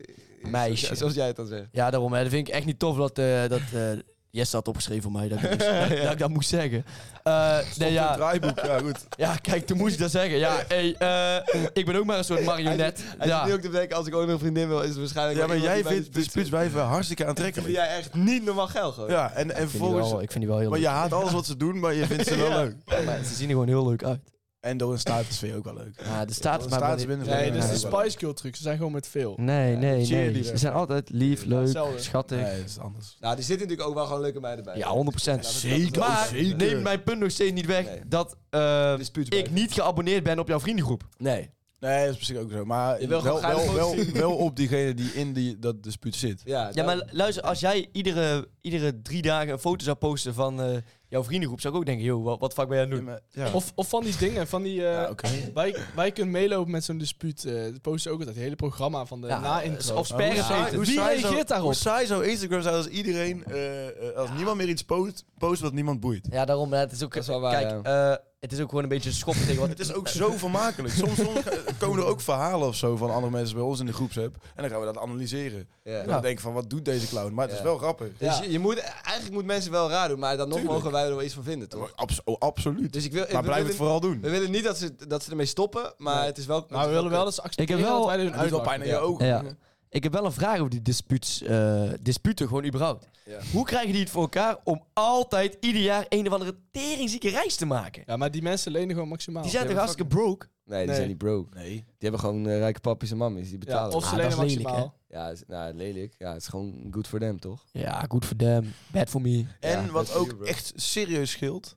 C: Meisje.
B: Zoals, zoals jij het dan zegt.
C: Ja, daarom. Hè. Dat vind ik echt niet tof dat, eh dat eh Jesse had opgeschreven voor mij. Dat ik, dat, dat ik dat moest zeggen. Eh, nee,
D: Op het
C: ja,
D: draaiboek, ja goed.
C: ja, kijk, toen moest ik dat zeggen. Ja, hey, eh, ik ben ook maar een soort marionet.
B: Hij zit
C: Ja.
B: nu ook te bedenken, als ik ooit nog een vriendin wil, is het waarschijnlijk... wel
D: Ja, maar
B: iemand
D: jij
B: die bij
D: vindt de spitswijven hartstikke
B: vind
D: aantrekkelijk.
B: jij echt niet normaal geil gewoon.
D: Ja, en, en
C: Ik vind, die wel,
D: vervolgens...
C: ik vind die wel heel
D: Maar
C: leuk.
D: je haat alles wat ze doen, maar je vindt ze wel leuk.
C: Maar ze zien er gewoon heel leuk uit.
D: En door een status vind je ook wel leuk.
C: Ja, de status maar...
D: status binnen
E: Nee,
D: dat
E: dus de
D: is wel leuk.
E: Spice Girl trucs, ze zijn gewoon met veel.
C: Nee, nee, nee.
D: cheerleader.
C: Ze zijn altijd lief, leuk,
E: hetzelfde.
C: schattig.
D: Nee, dat is anders.
B: Nou, er zitten natuurlijk ook wel gewoon leuke meiden bij.
C: Ja, 100%.
D: Zeker,
C: Maar
D: zeker.
C: neem mijn punt nog steeds niet weg
B: Nee.
C: dat eh,
B: Dispuutswijven.
C: ik niet geabonneerd ben op jouw vriendengroep.
B: Nee.
D: Nee, dat is misschien ook zo. Maar
B: Je wil
D: wel,
B: gewoon
D: wel,
B: geile
D: wel,
B: foto's
D: wel, op diegene die in die, dat dispuut zit.
B: Ja,
C: Ja,
B: daarom.
C: maar luister, als jij iedere, iedere drie dagen een foto zou posten van eh, jouw vriendengroep, zou ik ook denken, joh, wat, wat fuck ben jij aan het doen?
D: Ja.
E: Of, of van die dingen, van die... eh,
D: Ja, oké.
E: wij, wij kunnen meelopen met zo'n dispuut. eh we posten ook altijd het hele programma van de
C: Ja, eh,
E: na-intro.
C: of
D: Maar hoe
C: sperren
D: saai-
C: eten.
D: hoe
E: Wie
D: saai zou-
E: reageert daarop?
D: Hoe saai zou Instagram zijn als iedereen, eh, eh, als niemand meer iets post, post wat niemand boeit.
C: Ja, daarom, hè, het is ook,
B: Dat is wel waar,
C: kijk, eh, het is ook gewoon een beetje een schop tegen wat...
D: Het is ook zo vermakelijk. Soms, soms eh, komen er ook verhalen of zo van andere mensen bij ons in de groepsapp. En dan gaan we dat analyseren.
B: Ja.
D: En dan denk ik van, wat doet deze clown? Maar het
B: Ja.
D: is wel grappig.
B: Dus je, je moet, eigenlijk moet mensen wel raar doen, maar dan nog
D: Tuurlijk.
B: mogen wij er wel iets van vinden, toch?
D: Abs- oh, absoluut.
B: Dus ik wil,
D: Maar
B: we,
D: blijf het
B: willen,
D: vooral doen.
B: we willen niet dat ze, dat ze ermee stoppen, maar
E: Nee.
B: het is wel...
E: Maar we willen wel eens accepteren
C: Ik heb wel-
E: dat wij er een
D: Het doet wel
E: uitbakken.
D: pijn aan je ogen.
C: Ja. Ik heb wel een vraag over die disputes, eh, disputen, gewoon überhaupt.
B: Ja.
C: Hoe krijgen die het voor elkaar om altijd ieder jaar een of andere teringzieke reis te maken?
E: Ja, maar die mensen lenen gewoon maximaal.
C: Die zijn
B: Ja,
C: toch
B: maar
C: hartstikke broke?
B: Nee, die
E: Nee.
B: zijn niet broke.
D: Nee.
B: Die hebben gewoon eh, rijke papjes en mammies, die
E: Ja,
B: betalen.
E: of
C: Ah,
E: ze
C: dat
E: lenen
C: is lelijk,
E: maximaal.
B: Ja, het is- nou, lelijk. Ja, het is gewoon good for them, toch?
C: Ja, goed voor them, bad for me.
D: En
B: Ja,
D: wat
B: dat is
D: ook
B: duur, bro.
D: echt serieus scheelt.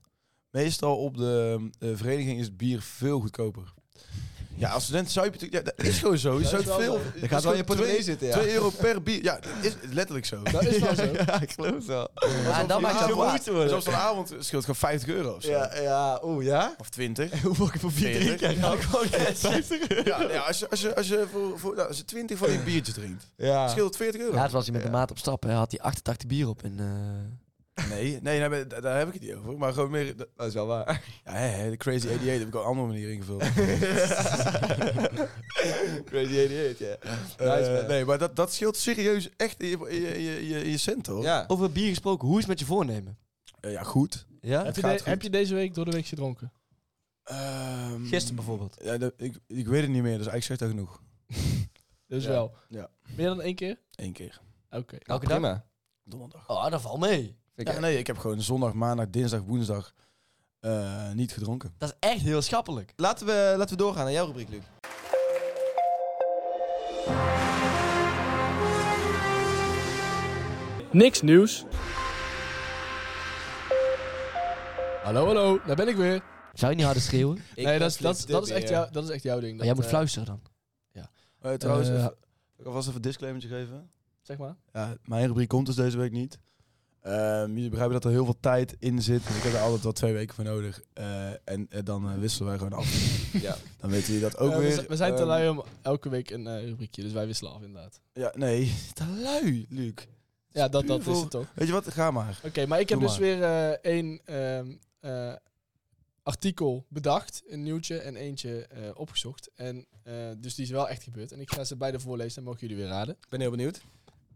D: Meestal op de eh, vereniging is bier veel goedkoper. Ja, als student zuip je natuurlijk... Ja, dat is gewoon zo. Je zuipt veel.
B: Dan gaat
D: dat
B: wel
D: is
B: in
D: gewoon
B: je portemonnee
D: twee-
B: zitten, ja.
D: 2 euro per bier. Ja, dat is letterlijk zo.
E: Dat is wel zo.
B: ja, ik geloof wel.
C: Ja, en dan maakt het
D: Ja,
C: wel
D: maar-
C: goed te worden.
D: Zoals van avond scheelt het gewoon 50 euro of zo.
B: Ja, ja, oeh, ja?
D: Of 20.
B: Hoeveel voor
D: bier drink jij nou?
B: gewoon 50
D: Ja, nou ja als, je, als, je, als, je voor, voor, nou, als je 20 van een biertje drinkt,
B: Ja.
D: scheelt 40 euro.
C: Laatst was hij met de maat op stap, hè, had hij 88 bier op. En, eh,
D: Nee, nee daar, ben- daar- daar heb ik het niet over. Maar gewoon meer... dat-
B: Dat is wel waar.
D: Ja, hè, hè, de Crazy 88 heb ik op een andere manier ingevuld.
B: Crazy 88, ja.
D: Eh,
B: Nice, man.
D: nee, maar dat, dat scheelt serieus echt in je, in je, in je, in je, in je cent, hoor.
B: Ja.
C: over bier gesproken, hoe is het met je voornemen?
D: Eh, ja, goed.
C: Ja?
E: Heb je,
D: gaat
E: de-
D: goed.
E: heb je deze week door de week gedronken?
D: Ehm,
C: Gisteren bijvoorbeeld.
D: Ja, dat- ik, ik weet het niet meer, dus eigenlijk zegt dat genoeg.
E: Dus
B: Ja.
E: wel.
D: Ja.
E: Meer dan één keer?
D: Eén keer.
E: Oké.
C: Elke dag?
B: Prima.
D: Donderdag.
C: Oh, dat valt mee.
B: Vind ik
D: Ja, nee, ik heb gewoon zondag, maandag, dinsdag, woensdag eh, niet gedronken.
C: Dat is echt heel schappelijk.
B: Laten we, laten we doorgaan naar jouw rubriek, Luc.
E: Niks nieuws. Hallo, hallo. Daar ben ik weer.
C: Zou je niet harder schreeuwen?
B: Ik
E: nee, dat
B: ben
E: is, dat, is-
B: flip
E: dat, is
B: dit
E: echt
B: weer.
E: jou, dat is echt jouw ding.
C: Maar jij
E: Dat,
C: moet
E: eh,
C: fluisteren dan.
D: Eh, trouwens,
C: Eh,
D: even- ik alvast even een disclaimertje geven.
E: Zeg maar.
D: Ja, mijn rubriek komt dus deze week niet. Ehm, jullie begrijpen dat er heel veel tijd in zit. Dus ik heb er altijd wel twee weken voor nodig. Eh, en eh, dan eh, wisselen wij gewoon af.
B: Ja.
D: Dan weten jullie dat ook
E: Eh, we,
D: weer.
E: zi- we zijn te
D: Ehm,
E: lui om elke week een eh, rubriekje, dus wij wisselen af inderdaad.
D: Ja, nee, te lui, Luc.
E: Ja, dat, dat
D: Puur
E: is
D: voor-
E: het toch.
D: Weet je wat, ga maar.
E: Oké, maar ik heb
D: Doe
E: dus
D: maar.
E: weer eh, één ehm, eh, artikel bedacht, een nieuwtje en eentje eh, opgezocht. En, eh, dus die is wel echt gebeurd. En ik ga ze beide voorlezen en mogen jullie weer raden.
B: Ik ben heel benieuwd.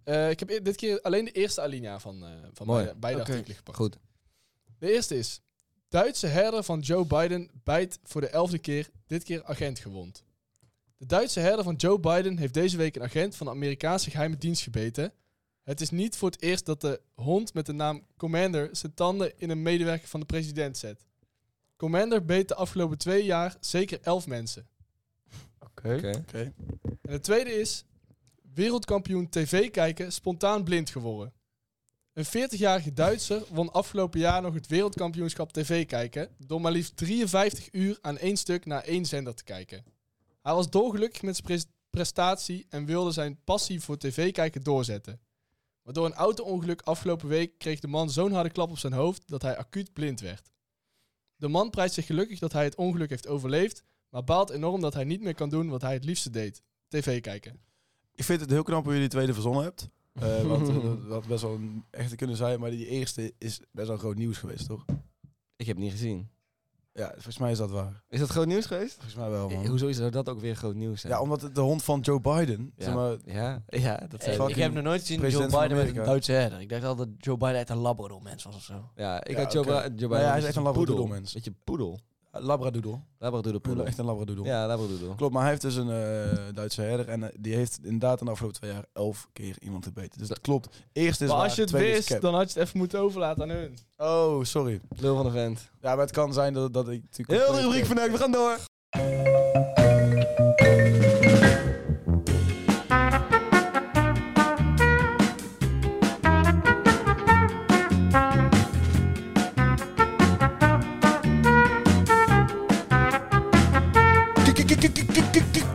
E: Eh, ik heb e- dit keer alleen de eerste alinea van, eh, van
B: Mooi.
E: beide, beide
D: Oké.
E: artikelen gepakt.
B: Goed.
E: De eerste is, Duitse herder van Joe Biden bijt voor de elfde keer, dit keer agent gewond. De Duitse herder van Joe Biden heeft deze week een agent van de Amerikaanse geheime dienst gebeten. Het is niet voor het eerst dat de hond met de naam Commander zijn tanden in een medewerker van de president zet. Commander beet de afgelopen twee jaar zeker elf mensen.
B: Oké.
E: En het tweede is, wereldkampioen tv kijken spontaan blind geworden. Een 40-jarige Duitser won afgelopen jaar nog het wereldkampioenschap tv kijken door maar liefst 53 uur aan één stuk naar één zender te kijken. Hij was dolgelukkig met zijn pres- prestatie en wilde zijn passie voor tv kijken doorzetten. Maar door een auto-ongeluk afgelopen week kreeg de man zo'n harde klap op zijn hoofd dat hij acuut blind werd. De man prijst zich gelukkig dat hij het ongeluk heeft overleefd, maar baalt enorm dat hij niet meer kan doen wat hij het liefste deed tv kijken.
D: Ik vind het heel knap hoe jullie die tweede verzonnen hebt. Eh, want eh, dat had best wel een echte kunnen zijn, maar die eerste is best wel groot nieuws geweest, toch?
B: Ik heb het niet gezien.
D: Ja, volgens mij is dat waar.
B: Is dat groot nieuws geweest?
D: Volgens mij wel,
E: Eh,
D: man.
B: Eh, Hoezo zou dat ook weer groot nieuws zijn?
D: Ja, omdat het de hond van Joe Biden,
B: Ja.
D: zeg maar,
B: ja, ja, dat
C: Eh,
B: zijn
C: ik heb nog nooit gezien Joe
D: president van
C: Biden met een
D: Amerika.
C: Duitse herder. Ik dacht altijd dat Joe Biden echt een Labrador-mens was of zo.
B: Ja, ik
D: Ja,
B: had Joe,
D: oké.
B: Ba- Joe Biden.
D: hij is
B: dus
D: echt een labradoodle-mens.
B: Beetje poedel.
D: labradoodle.
B: Labradoodle poedel.
D: Echt een labradoodle.
B: Ja, labradoodle.
D: Klopt, maar hij heeft dus een eh, Duitse herder en eh, die heeft inderdaad in de afgelopen twee jaar elf keer iemand gebeten. Dus dat klopt. Eerst is
E: Maar
D: waar,
E: als je het
D: tweede is
E: wist,
D: cap.
E: dan had je het even moeten overlaten aan hun.
D: Oh, sorry.
B: Lul van de vent.
D: Ja, maar het kan zijn dat, dat ik... natuurlijk-
B: Heel de rubriek vanuit, we gaan door.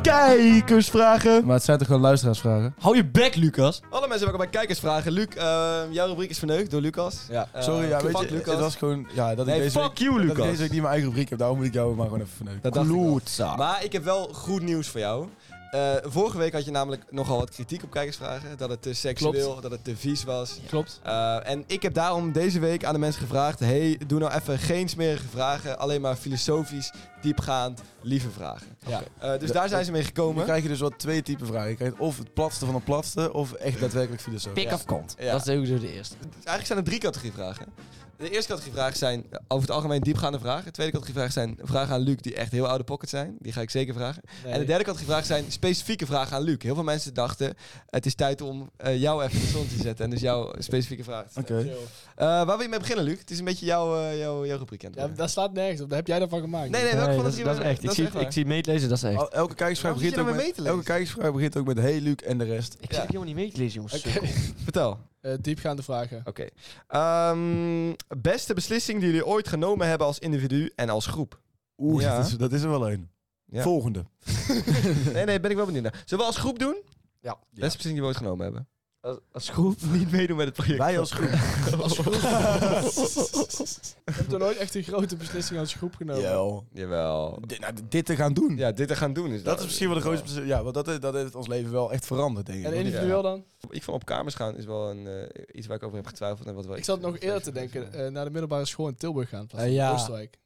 C: Kijkersvragen.
D: Maar het zijn toch gewoon luisteraarsvragen?
C: Hou je bek, Lukas.
B: Alle mensen welkom bij Kijkersvragen. Luc, eh, jouw rubriek is verneukt door Lucas.
D: Ja,
B: Eh,
D: sorry, ja,
B: fuck
D: weet je,
B: Lucas.
D: het was gewoon... Ja, dat
B: Nee,
D: ik deze
B: fuck
D: week,
B: you,
D: Dat
B: Lucas.
D: ik deze week niet mijn eigen rubriek heb, daarom moet ik jou maar gewoon even verneuken.
B: Dat dacht ik wel.
C: Klootza.
B: Maar ik heb wel goed nieuws voor jou. Eh, vorige week had je namelijk nogal wat kritiek op kijkersvragen. Dat het te seksueel, dat het te vies was.
E: Klopt.
B: Eh, en ik heb daarom deze week aan de mensen gevraagd: hey, doe nou even geen smerige vragen. Alleen maar filosofisch, diepgaand, lieve vragen.
E: Ja.
B: Eh, dus daar zijn ze mee
D: Dan
B: gekomen.
D: krijg je dus wel twee typen vragen. Je krijgt of het platste van het platste, of echt daadwerkelijk filosoof.
C: Pik of kont.
B: Ja.
C: Dat is sowieso de eerste.
B: Dus Eigenlijk zijn er drie categorie vragen. De eerste categorie vragen zijn eh, over het algemeen diepgaande vragen. De tweede categorie vragen zijn vragen aan Luc die echt heel oude pocket zijn. Die ga ik zeker vragen. En de derde categorie vragen zijn specifieke vragen aan Luc. Heel veel mensen dachten, het is tijd om eh, jou even in de zon te zetten. En dus jouw specifieke vraag te stellen.
D: Oké.
B: Eh, waar wil je mee beginnen, Luc? Het is een beetje jouw, eh, jouw, jouw rubriek aan het
E: Ja,
B: worden.
E: daar staat nergens op. Daar heb jij daarvan gemaakt.
B: Nee, nee, welke van de
C: dat,
B: drie
C: is- dat is
B: was-
C: echt. Ik
B: dat
C: zie,
B: is echt
C: ik zie meetlezen, dat is echt.
D: Al- Elke kijkersvraag
B: Waarom zit
D: begint
B: je
D: ook
B: nou
D: met...
B: mee te lezen?
D: Elke kijkersvraag begint ook met... Hey, Luc en de rest.
C: Ik
B: Ja.
C: zit helemaal niet mee te lezen, jongens.
E: Oké.
B: Vertel.
E: Eh, diepgaande vragen.
B: Oké. Ehm, beste beslissing die jullie ooit genomen hebben als individu en als groep?
D: Oeh,
B: Ja.
D: dat, is, dat is er wel een.
B: Ja.
D: Volgende.
B: Nee, nee, ben ik wel benieuwd naar. Zullen we als groep doen?
E: Ja.
B: Beste beslissing die we ooit genomen hebben.
C: Als, als groep.
B: Niet meedoen met het project.
D: Wij als groep. eh,
E: Je hebt er nooit echt een grote beslissing als groep genomen.
D: Jawel.
B: Jawel.
D: Dit, nou, dit te gaan doen.
B: Ja, dit te gaan doen is
D: Dat is misschien wel de grootste... beslissing. Ja, want dat, dat heeft ons leven wel echt veranderd, denk ik.
E: En individueel dan?
B: Ik vond op kamers gaan is wel een, eh, iets waar ik over heb getwijfeld. En wat wel
E: Ik zat nog eerder te denken eh, naar de middelbare school in Tilburg gaan. in plaats van
C: Eh, ja.
E: Oostenrijk.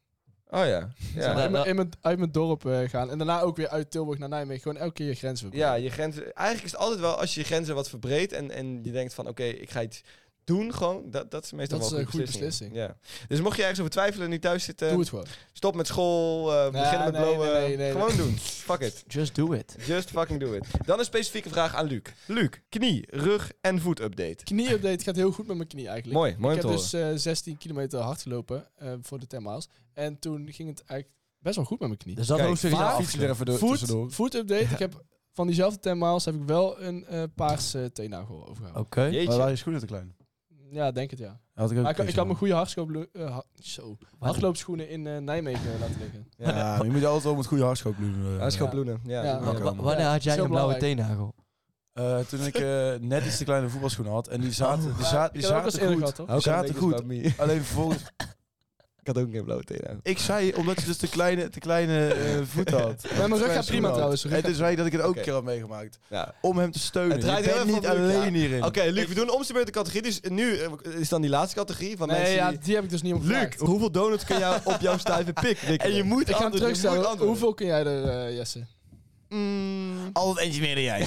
B: Oh ja.
E: Zeg
B: Ja,
E: maar,
C: Ja,
E: in mijn-
C: dat-
E: in mijn- uit mijn dorp eh, gaan. En daarna ook weer uit Tilburg naar Nijmegen. Gewoon elke keer je grenzen
B: ja
E: verbreken.
B: je grenzen. Eigenlijk is het altijd wel als je je grenzen wat verbreedt en, en je denkt van oké, ik ga iets doen gewoon. Dat, dat is meestal
E: Dat
B: wel
E: is
B: een
E: een
B: goede
E: goede
B: beslissing. Ja. Dus mocht je ergens over twijfelen en nu thuis zitten,
E: Doe het gewoon.
B: stop met school, eh
E: Nee,
B: begin met
E: nee,
B: blowen.
E: nee, nee, nee.
B: Gewoon doen. Fuck it.
C: Just do it.
B: Just fucking do it. Dan een specifieke vraag aan Luc. Luc, knie, rug en voet update.
E: Knieupdate gaat heel goed met mijn knie eigenlijk.
B: Mooi, mooi om
E: ik
B: te
E: heb
B: horen.
E: dus eh, 16 kilometer hard gelopen eh, voor de 10 miles. En toen ging het eigenlijk best wel goed met mijn knie.
C: Dus dat
B: Kijk,
C: hoofdstuk is
B: maar-
C: al
D: Fiets je er
C: afgesloten.
D: even door, tussendoor.
E: Food, food update. Ik heb van diezelfde 10 miles heb ik wel een eh, paarse teennagel overgehouden.
C: Oké.
D: Maar
B: Jeetje.
D: waren je schoenen te klein?
E: Ja, denk het ja.
D: Had ik ook
E: Maar ik,
D: een
E: ik
D: keer
E: had mijn goede hardlooplo- eh, ha- zo.
C: Wat?
E: hardloopschoenen in eh, Nijmegen laten liggen.
D: gedaan. Ja, maar je moet altijd wel met goede hartschop doen. eh.
B: Hartstikke
E: Ja.
B: bloenen. Ja,
E: Ja.
B: dat
C: Wa-
B: is
C: wa-
B: wel-
C: Wanneer had jij
E: Zo
C: een blauwe
E: belangrijk.
C: teennagel?
D: Eh, toen ik eh, net iets te kleine voetbalschoenen had en die zaten, die zaten, die
E: Oh. ik
D: zaten
E: heb ook als eerder
D: goed. Ah,
E: gehad, toch?
D: Die zaten
B: How can I make this about
D: goed.
B: me?
D: Alleen vervolgens
B: Ik had ook geen blauwe tenen.
D: Ik zei, omdat je dus te kleine, te kleine eh, voet had.
E: Ja, mijn rug gaat prima trouwens. Rug
D: En toen zei ik dat ik het ook
B: Oké.
D: een keer had meegemaakt.
B: Ja.
D: Om hem te steunen.
B: Het draait
D: je
B: heel
D: bent
B: even
D: niet
B: om Luc,
D: alleen hierin.
B: Oké, Luc, we doen om de beurt de categorie. Dus nu eh, is dan die laatste categorie van
E: Nee,
B: mensen
E: ja,
B: die...
E: die heb ik dus niet
B: Luc,
E: opgevraagd.
B: hoeveel donuts kun jij op jouw stijve pik En je moet
E: Ik ga
B: antwoorden, je
E: hem
B: moet
E: terugstellen.
B: antwoorden.
E: Hoeveel kun jij er, eh, Jesse?
B: Mm,
D: Altijd eentje meer dan jij.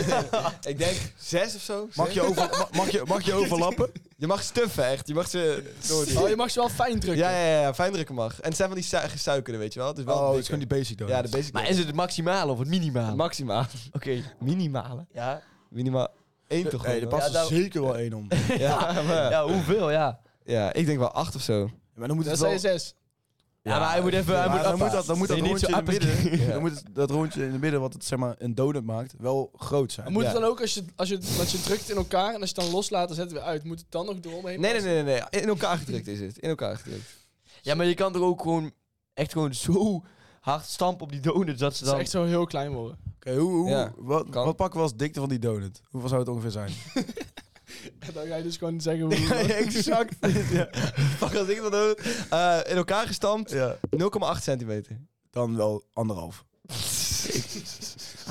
B: ik denk zes of zo.
D: Mag je, over, ma- mag, je, mag je overlappen?
B: Je mag stuffen, echt. Je mag ze doorduwen.
E: Oh, je mag ze wel fijn drukken.
B: ja, ja, ja, ja, fijn drukken mag. En het zijn van die su- gesuikerde, weet je wel. Het is wel
D: Oh, het is
B: dikker.
D: gewoon die basic dan.
B: Ja, de basic.
C: Maar is het het maximale of het minimale?
B: maximaal.
C: Oké.
B: Minimale.
C: Ja.
B: Minimaal. Eén toch
D: Nee, er
B: gewoon,
D: past
C: Ja,
D: er
C: daar-
D: zeker wel één om.
B: hè? ja, maar, ja.
C: ja, hoeveel? Ja.
B: ik denk wel acht of zo.
D: Maar dan moet
E: Dat
D: het
E: zijn
D: wel...
E: zes.
C: Ja, maar hij moet even...
D: Ja,
C: Hij
D: maar
C: moet
D: dan moet
C: appa.
D: dat, dan moet dat
C: Nee, niet
D: rondje
C: zo
D: in het
C: appa-
D: midden,
B: Ja.
D: dan moet het, dat rondje in het midden wat het zeg maar een donut maakt, wel groot zijn.
E: Moet
D: Ja.
E: het dan ook, als je, als, je, als je drukt in elkaar en als je het dan loslaat, dan zet het weer uit. Moet het dan nog eromheen?
B: Nee, nee, nee, nee, nee. In elkaar gedrukt is het. In elkaar gedrukt.
C: Ja, maar je kan toch ook gewoon echt gewoon zo hard stampen op die donuts dat ze
E: Het
C: dan...
E: is echt zo heel klein worden.
D: Oké, hoe, hoe,
B: Ja,
D: wat,
B: kan.
D: wat pakken we als dikte van die donut? Hoeveel zou het ongeveer zijn?
E: En dan ga je dus gewoon zeggen hoe...
B: exact. ja. Fuck, als ik dat doe. Eh, in elkaar gestampt. 0,8 centimeter.
D: Dan wel anderhalf.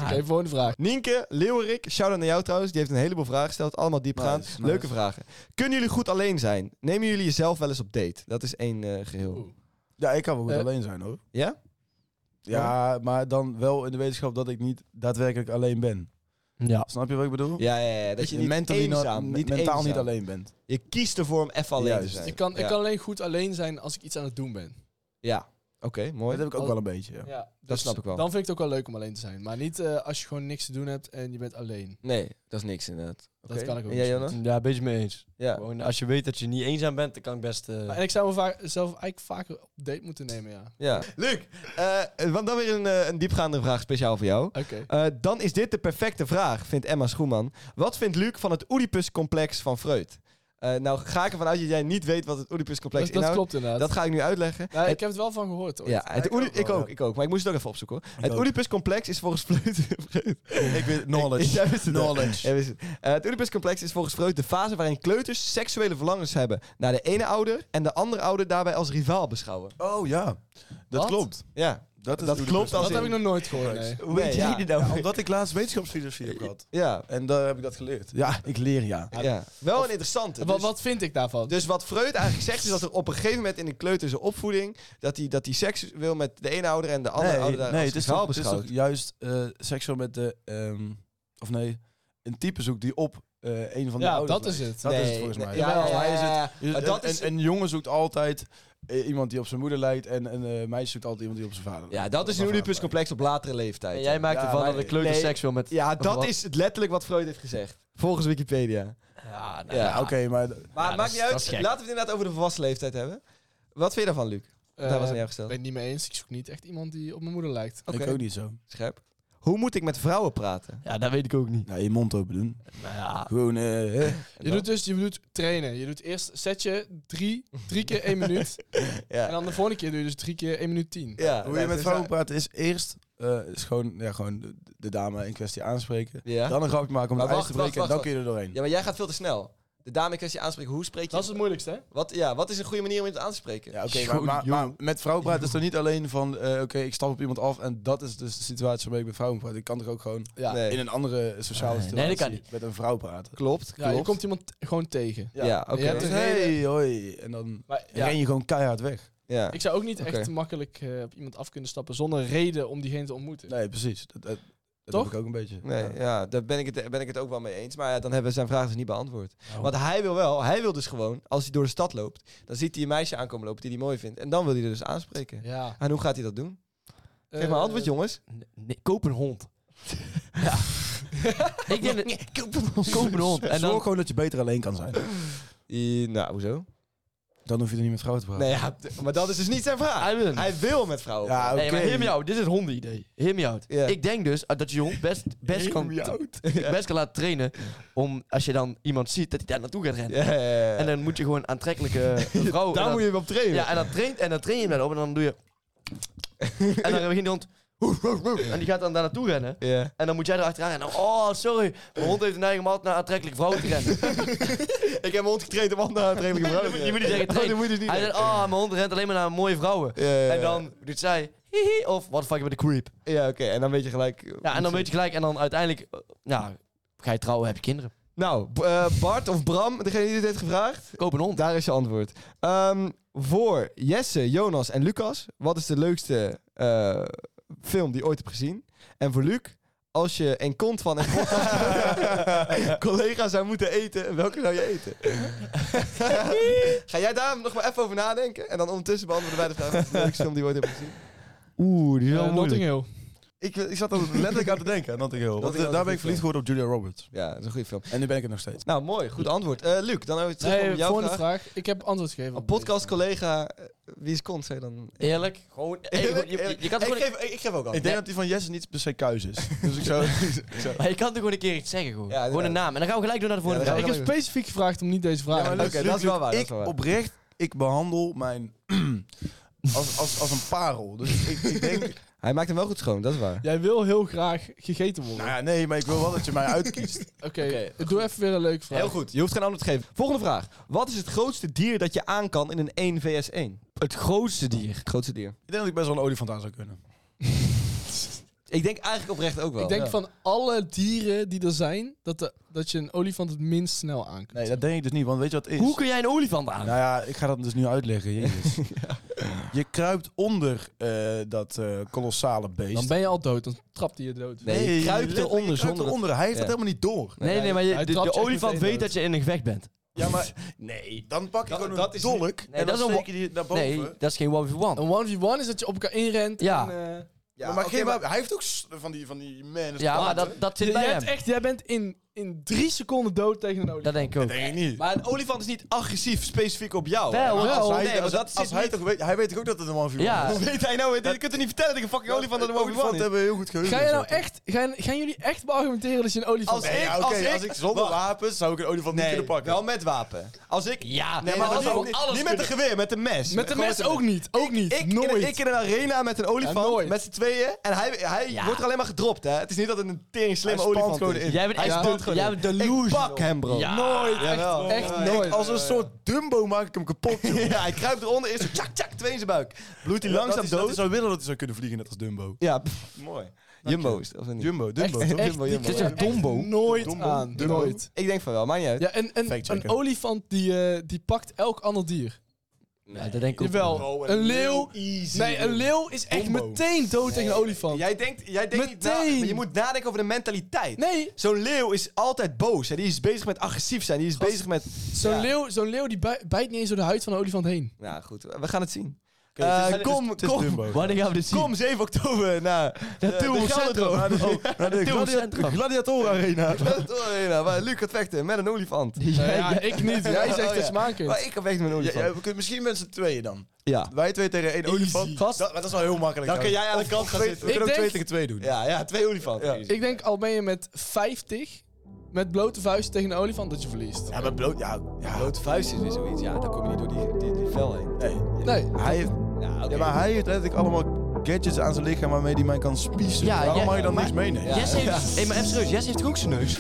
E: Oké, volgende vraag.
B: Nienke, Leeuwerik, shout-out naar jou trouwens. Die heeft een heleboel vragen gesteld. Allemaal diepgaand.
D: Nice, nice.
B: Leuke vragen. Kunnen jullie goed alleen zijn? Nemen jullie jezelf wel eens op date? Dat is één eh, geheel.
E: Oeh.
D: Ja, ik kan wel goed
E: Eh.
D: alleen zijn hoor.
B: Ja?
D: Ja, maar dan wel in de wetenschap dat ik niet daadwerkelijk alleen ben.
C: Ja.
D: Snap je wat ik bedoel?
B: Ja, ja, ja. Dat je niet
D: mentally not-
B: eenzaam,
D: me-
B: niet
D: mentaal
B: eenzaam.
D: niet alleen bent.
B: Je kiest ervoor om even alleen
D: Juist.
B: te zijn.
E: Ik kan, ik
B: Ja.
E: kan alleen goed alleen zijn als ik iets aan het doen ben.
B: Ja. Oké, mooi.
D: Dat heb ik ook wel een beetje. Ja.
E: Ja,
B: dat snap ik wel.
E: Dan vind ik het ook wel leuk om alleen te zijn. Maar niet eh, als je gewoon niks te doen hebt en je bent alleen.
B: Nee, dat is niks inderdaad.
E: Dat
B: Oké.
E: kan ik ook
B: En jij,
E: niet.
B: Jonna?
C: Ja, een beetje mee eens.
B: Ja.
C: Gewoon, als je weet dat je niet eenzaam bent, dan kan ik best... eh,
E: Maar- Ah, En ik zou me va- zelf eigenlijk vaker op date moeten nemen, ja.
B: ja. Luc, eh, want dan weer een, eh, een diepgaande vraag speciaal voor jou.
E: Oké.
B: Eh, dan is dit de perfecte vraag, vindt Emma Schoeman. Wat vindt Luc van het Oedipus-complex van Freud? Eh, nou ga ik ervan uit dat jij niet weet wat het
E: Dat,
B: Oedipus-complex
E: dat
B: inhoudt.
E: klopt inderdaad.
B: Dat ga ik nu uitleggen.
E: Nou,
B: Het-
E: ik heb het wel van gehoord, hoor.
B: ja, het
D: ik ook
B: Oedi- ik,
D: wel,
B: ook,
D: ja.
B: ik ook, maar ik moest het ook even opzoeken hoor. het
D: ook.
B: Oedipus-complex is volgens Freud... Freud-
D: Ik weet knowledge.
B: Jij wist het, hè?
D: knowledge.
B: Ja, wist het. Eh, het Oedipus-complex is volgens Freud de fase waarin kleuters seksuele verlangens hebben naar de ene ouder en de andere ouder daarbij als rivaal beschouwen.
D: Oh ja, dat
E: Wat?
D: klopt.
B: Ja,
D: Dat, is
B: Dat
D: hoe de
B: klopt
D: bus-
B: als
E: dat heb ik nog nooit gehoord, nee.
B: Hoe weet jij dit
D: Ja, omdat ik laatst wetenschapsfilosofie heb gehad.
B: Ja,
D: En daar heb ik dat geleerd. Ja, ik leer ja.
B: ja. wel een interessante.
E: En Wat,
B: Dus-
E: wat vind ik daarvan?
B: Dus wat Freud eigenlijk zegt is dat er op een gegeven moment in een kleuterse opvoeding dat hij dat hij seks wil met de ene ouder en de andere
D: Nee,
B: ouder daar
D: nee
B: als
D: het, is
B: rivaal
D: toch, het is
B: beschouwt.
D: toch juist eh, seksueel met de... ehm, of nee, een type zoekt die op eh, een van de
E: ja,
D: ouders
E: dat
D: lijkt.
E: is het.
D: Dat
B: Nee,
D: is het volgens mij.
B: nee, ja, ja,
D: Volgens mij is het-
B: ja, ja.
D: Dus
B: Maar
D: een,
B: dat is-
D: een, een jongen zoekt altijd eh, iemand die op zijn moeder lijkt en een eh, meisje zoekt altijd iemand die op zijn vader lijkt.
B: Ja, dat is een
D: Of haar
B: Oedipus complex op latere leeftijd.
C: en jij maakt
D: Ja,
C: ervan
D: maar-
C: dat een kleuter
B: nee.
C: seks wil met...
B: Ja, dat
C: wat?
B: is het letterlijk wat Freud heeft gezegd. Volgens Wikipedia.
C: Ja, nou,
B: Ja,
D: lijkt. Ja, Oké, maar d-
B: Maar
C: dat
B: maakt
C: is-
B: niet
C: dat
B: uit.
C: is gek.
B: Laten we het inderdaad over de volwassen leeftijd hebben. Wat vind je daarvan, Luc?
E: Eh,
B: Daar was aan jou
E: ben
B: gesteld.
E: het niet mee eens. Ik zoek niet echt iemand die op mijn moeder lijkt.
B: Oké,
D: ik ook niet zo.
B: scherp. Hoe moet ik met vrouwen praten?
C: ja, dat weet ik ook niet.
D: Nou, je mond open doen.
C: Maar Nou ja,
D: Gewoon, eh, hè.
B: Nou.
E: Je doet dus je doet trainen. Je doet eerst setje drie, drie keer één minuut. En
B: Ja.
E: dan de volgende keer doe je dus drie keer één minuut tien.
B: ja
D: Hoe je met
B: dus-
D: vrouwen praat is eerst eh, is gewoon, ja, gewoon de, de dame in kwestie aanspreken.
B: Ja.
D: Dan een grapje maken om
B: Maar
D: het ijs
B: wacht,
D: te breken
B: wacht,
D: en dan
B: wacht.
D: kun je er doorheen.
B: Ja, maar jij gaat veel te snel. De dame in kwestie aanspreken, hoe spreek je...
E: Dat is het moeilijkste, hè?
B: wat, ja, wat is een goede manier om iemand aan te spreken?
D: Ja, oké, maar, maar, maar met vrouwen praten is er niet alleen van, eh, oké, ik stap op iemand af en dat is dus de situatie waarmee ik met vrouwen praat. Ik kan toch ook gewoon
E: Ja.
B: Nee.
D: in een andere sociale
C: Nee,
D: situatie
C: dat kan niet.
D: met een vrouw praten.
B: Klopt,
E: Ja, je
B: klopt.
E: komt iemand t- gewoon tegen.
B: Ja, oké.
E: Je hebt
D: Dus
E: een
D: hey,
E: reden-
D: hoi. En dan
E: Maar ja,
D: ren je gewoon keihard weg.
B: Ja.
E: ik zou ook niet
B: Oké.
E: echt makkelijk eh, op iemand af kunnen stappen zonder reden om diegene te ontmoeten.
D: Nee, precies. Dat, dat, dat
E: Toch?
D: heb ik ook een beetje.
B: Nee,
D: Ja.
B: ja, daar ben ik, het, ben ik het ook wel mee eens. Maar ja, dan hebben we zijn vraag dus niet beantwoord.
E: Oh.
B: Want hij wil wel, hij wil dus gewoon, als hij door de stad loopt, dan ziet hij een meisje aankomen lopen die hij mooi vindt. En dan wil hij er dus aanspreken.
E: Ja.
B: En hoe gaat hij dat doen? Geef maar
E: Eh,
B: antwoord, jongens.
C: Nee, nee, koop een hond. ja. ik denk dat- koop een hond. En
D: Zorg
C: dan,
D: gewoon dat je beter alleen kan zijn.
B: I- nou, hoezo?
D: Dan hoef je er niet met vrouwen te praten.
B: Nee, ja, d- maar dat is dus niet zijn vraag.
C: Hij wil.
B: Hij wil met vrouwen.
D: Ja,
C: Nee, maar
D: oké.
C: hear me out. Dit is het hondenidee. Hear me out.
B: Ja.
C: Ik denk dus eh, dat je je hond best, best, kan, best kan laten trainen om als je dan iemand ziet, dat hij daar naartoe gaat rennen.
B: Ja, ja, ja.
C: En dan moet je gewoon aantrekkelijke vrouwen... en
B: daar
C: dan-
B: moet je hem op trainen.
C: Ja, en dan train, en dan train je hem dan op en dan doe je... en dan begint die hond... En die gaat dan daar naartoe rennen.
B: Ja.
C: En dan moet jij er achteraan rennen. Oh, sorry. Mijn hond heeft een neiging om altijd naar aantrekkelijke vrouwen te rennen.
B: Ik heb mijn hond getraind om andere aantrekkelijke vrouwen.
C: Je moet niet zeggen,
B: Oh,
C: train.
B: dat moet je niet
C: Hij
B: zeggen.
C: zegt, oh, mijn hond rent alleen maar naar mooie vrouwen.
B: Ja, ja, ja.
C: En dan doet zij, hihi, of what the fuck with the creep.
B: Ja, oké. En dan weet je gelijk...
C: Ja, en dan weet je gelijk. En dan uiteindelijk, eh, ja, ga je trouwen, heb je kinderen.
B: Nou, B- eh, Bart of Bram, degene die dit heeft gevraagd,
C: Koop een hond.
B: daar is je antwoord. Ehm, voor Jesse, Jonas en Lucas, wat is de leukste eh, film die je ooit hebt gezien? En voor Luc, als je een kont van een collega zou moeten eten, welke zou je eten? Ga jij daar nog maar even over nadenken? En dan ondertussen beantwoorden wij de vraag, wat is de leukste film die je ooit hebt gezien?
C: Oeh, die is
E: Eh, Notting Hill.
D: Ik, ik zat er letterlijk aan te denken, aan Notting Hill. Want
B: Notting Hill is
D: eh, daar
B: een
D: ben
B: goede
D: ik verliefd geworden op Julia Roberts.
B: Ja, dat is een goede film.
D: En nu ben ik het nog steeds.
B: Nou, mooi. Goed antwoord. Eh, Luc, dan hebben we terug
E: Nee,
B: op jouw
E: volgende
B: vraag.
E: vraag. Ik heb antwoord gegeven.
B: Een
E: op deze.
B: podcast-collega, eh, wie is kont, zei dan...
C: Eerlijk, gewoon, eh,
B: Eerlijk?
C: je, je, je kan
B: Ik
C: toch gewoon,
B: geef- ik geef ook al.
D: Ik denk dat die van Jesse niet per se kuis is. dus ik zou... ik zou-
C: maar je kan toch gewoon een keer iets zeggen, gewoon.
B: Ja,
C: gewoon een
B: inderdaad.
C: naam. En dan gaan we gelijk door naar de volgende
B: Ja,
E: Ik
C: vraag.
E: heb specifiek gevraagd om niet deze vraag
D: Ja,
E: te
D: maar
B: Oké,
E: doen.
D: Luc,
B: dat is wel
D: Luc,
B: waar, dat
D: Ik
B: is wel waar.
D: oprecht, ik behandel mijn... als, als, als een parel. Dus ik, ik denk...
B: Hij maakt hem wel goed schoon, dat is waar.
E: Jij wil heel graag gegeten worden.
D: Nou ja, nee, maar ik wil wel dat je mij uitkiest.
E: Oké, doe even weer een leuke vraag.
B: Heel goed, je hoeft geen antwoord te geven. Volgende vraag. Wat is het grootste dier dat je aan kan in een 1 vs 1?
C: Het grootste dier.
B: Het grootste dier.
D: Ik denk dat ik best wel een olifant aan zou kunnen.
B: Ik denk eigenlijk oprecht ook wel.
E: Ik denk
B: Ja.
E: van alle dieren die er zijn, dat, de, dat je een olifant het minst snel aan kunt.
D: Nee, dat denk ik dus niet, want weet je wat het is?
C: Hoe kun jij een olifant aan?
D: Nou ja, ik ga dat dus nu uitleggen. Jezus. Je kruipt onder eh, dat eh, kolossale beest.
E: Dan ben je al dood, dan trapt hij je dood.
B: Nee, je kruipt
D: letterlijk,
B: eronder
D: je kruipt
B: zonder-
D: eronder. Hij heeft
B: Ja.
D: dat helemaal niet door.
C: Nee, nee,
B: hij-
C: maar je-
E: hij
C: de,
E: trapt
C: de
E: je echt
C: olifant
E: meteen
C: weet dat
E: uit.
C: je in een gevecht bent.
D: Ja, maar nee, dan pak ik
B: Dat-
D: gewoon
B: dat
D: een
B: is
D: dolk en
C: dat
D: dan
C: is een-
D: steek je die naar boven.
C: Nee, dat is geen 1v1.
E: Een 1v1 is dat je op elkaar inrent.
C: Ja.
E: en, eh,
B: Ja,
D: maar, maar
B: oké,
D: geen wapen. Hij heeft ook s- van die, van die man.
C: Ja, maar dat, dat zit
E: jij,
C: bij
E: bent
C: hem.
E: echt, jij bent in, in drie seconden dood tegen een olifant.
C: Dat denk ik ook.
D: denk ik niet.
B: maar een olifant is niet agressief specifiek op jou.
C: Wel,
B: Ja,
C: wel.
D: als hij,
B: nee, maar
D: als,
B: dat
D: als
B: zit
D: hij
B: niet-
D: toch weet, hij weet toch ook dat het een man viel.
C: Ja.
B: Hoe weet hij nou? Je kunt er niet vertellen dat ik een fucking olifant aan de olifant heb.
D: hebben heel goed geheugen.
E: Ga je nou echt, gaan, gaan jullie echt beargumenteren dat je een olifant
B: dus Als
E: bent?
D: Nee, ja,
B: Ik-
D: oké,
B: als ik-
D: als ik zonder
B: Wacht.
D: wapens zou ik een olifant niet kunnen pakken.
B: wel met wapen. Als ik...
C: Ja,
B: Nee, maar
C: dat
B: als
C: zou
B: ik-
C: alles
B: niet met een geweer, met een mes.
E: Met de
B: Gewoon
E: mes ook niet, ook niet,
B: Ik,
E: nooit.
B: In een, ik in een arena met een
E: Ja,
B: olifant,
E: nooit.
B: met z'n tweeën. En hij, hij
C: Ja.
B: wordt er alleen maar gedropt, hè. Het is niet dat het een tering slimme
D: Hij spant
B: olifant
D: gewoon
B: is.
D: in.
C: Jij bent
B: Hij
C: echt
B: spant
C: de
B: gewoon
C: Jij
B: in.
C: bent de
B: Ik pak hem, bro.
C: Ja.
B: Nooit.
E: Jawel. echt
B: nooit.
E: nooit.
D: Ik- als een soort Dumbo maak ik hem kapot. joh.
B: Ja, hij kruipt eronder, eerst zo tjak, tjak, twee in zijn buik. Bloedt hij
D: Dat-
B: langzaam
D: dat is,
B: dood.
D: Dat hij zou willen dat hij zou kunnen vliegen, net als Dumbo.
B: Ja, mooi. Jumbo is het, of niet?
D: Jumbo, Dumbo.
E: echt,
D: toch?
E: echt,
B: Jumbo,
E: die
B: Jumbo.
E: kun je
B: Het
E: echt nooit aan. Nooit.
B: Ik denk van wel, maakt niet uit.
E: Ja, en, en
D: Fact
E: een
D: checken.
E: olifant die, eh, die pakt elk ander dier.
C: Ja, dat denk ik ook.
E: Jawel,
C: wel.
E: een leeuw... Nee, een leeuw is echt
D: Dombo.
E: meteen dood tegen een olifant.
B: Jij denkt, jij denkt niet na,
E: Meteen.
B: maar je moet nadenken over de mentaliteit.
E: Nee,
B: Zo'n leeuw is altijd boos. Hè. Die is bezig met agressief zijn. Die is bezig met...
E: zo'n
B: Ja.
E: leeuw, zo'n leeuw die bij- bijt niet eens door de huid van een olifant heen.
B: Nou goed, we gaan het zien.
D: het is-
B: Eh,
D: het is-
B: kom,
D: het is
B: kom,
D: Dumbo.
C: Wanneer gaan we dit zien?
B: kom 7 oktober naar
C: Naar
B: eh,
C: Tilburg
B: de Oh, Gelderdroom.
C: Centrum. Oh,
D: Naar de
C: Tilburg
D: gladia-
C: Centrum.
D: Gladiator Arena.
B: Gelderdroom Arena, waar Luc gaat vechten met een olifant.
E: Nou ja, ik niet. Jij zegt
B: Oh,
E: dat
B: ja.
E: smaken.
B: Maar ik ga vechten met een
D: Ja, ja,
B: olifant.
D: we kunnen misschien met z'n tweeën dan.
B: Ja.
D: Wij twee tegen één olifant.
C: Gast.
D: Dat, dat is wel heel makkelijk.
B: Dan kun jij aan de
D: Of-
B: kant
D: of
B: gaan
D: twee-
B: zitten.
D: We
E: Ik
D: kunnen ook twee
E: denk-
D: tegen twee doen.
B: Ja, ja, twee olifanten.
D: Ja.
E: Ik denk al ben je met 50 met blote vuisten tegen een olifant dat je verliest.
D: Ja, maar bloot... Ja, ja.
B: Blote vuist is weer zoiets. Ja, daar kom je niet door die, die, die vel heen.
D: Nee.
E: Nee.
D: Hij heeft,
B: Ja, oké.
D: ja, maar hij heeft letterlijk allemaal gadgets aan zijn lichaam waarmee hij mij kan spiezen.
C: Ja,
D: Waarom
C: ja,
D: mag je dan
C: maar-
D: niks meenemen?
C: Jess heeft... Hé, maar even serieus. Jess heeft toch ook zijn neus?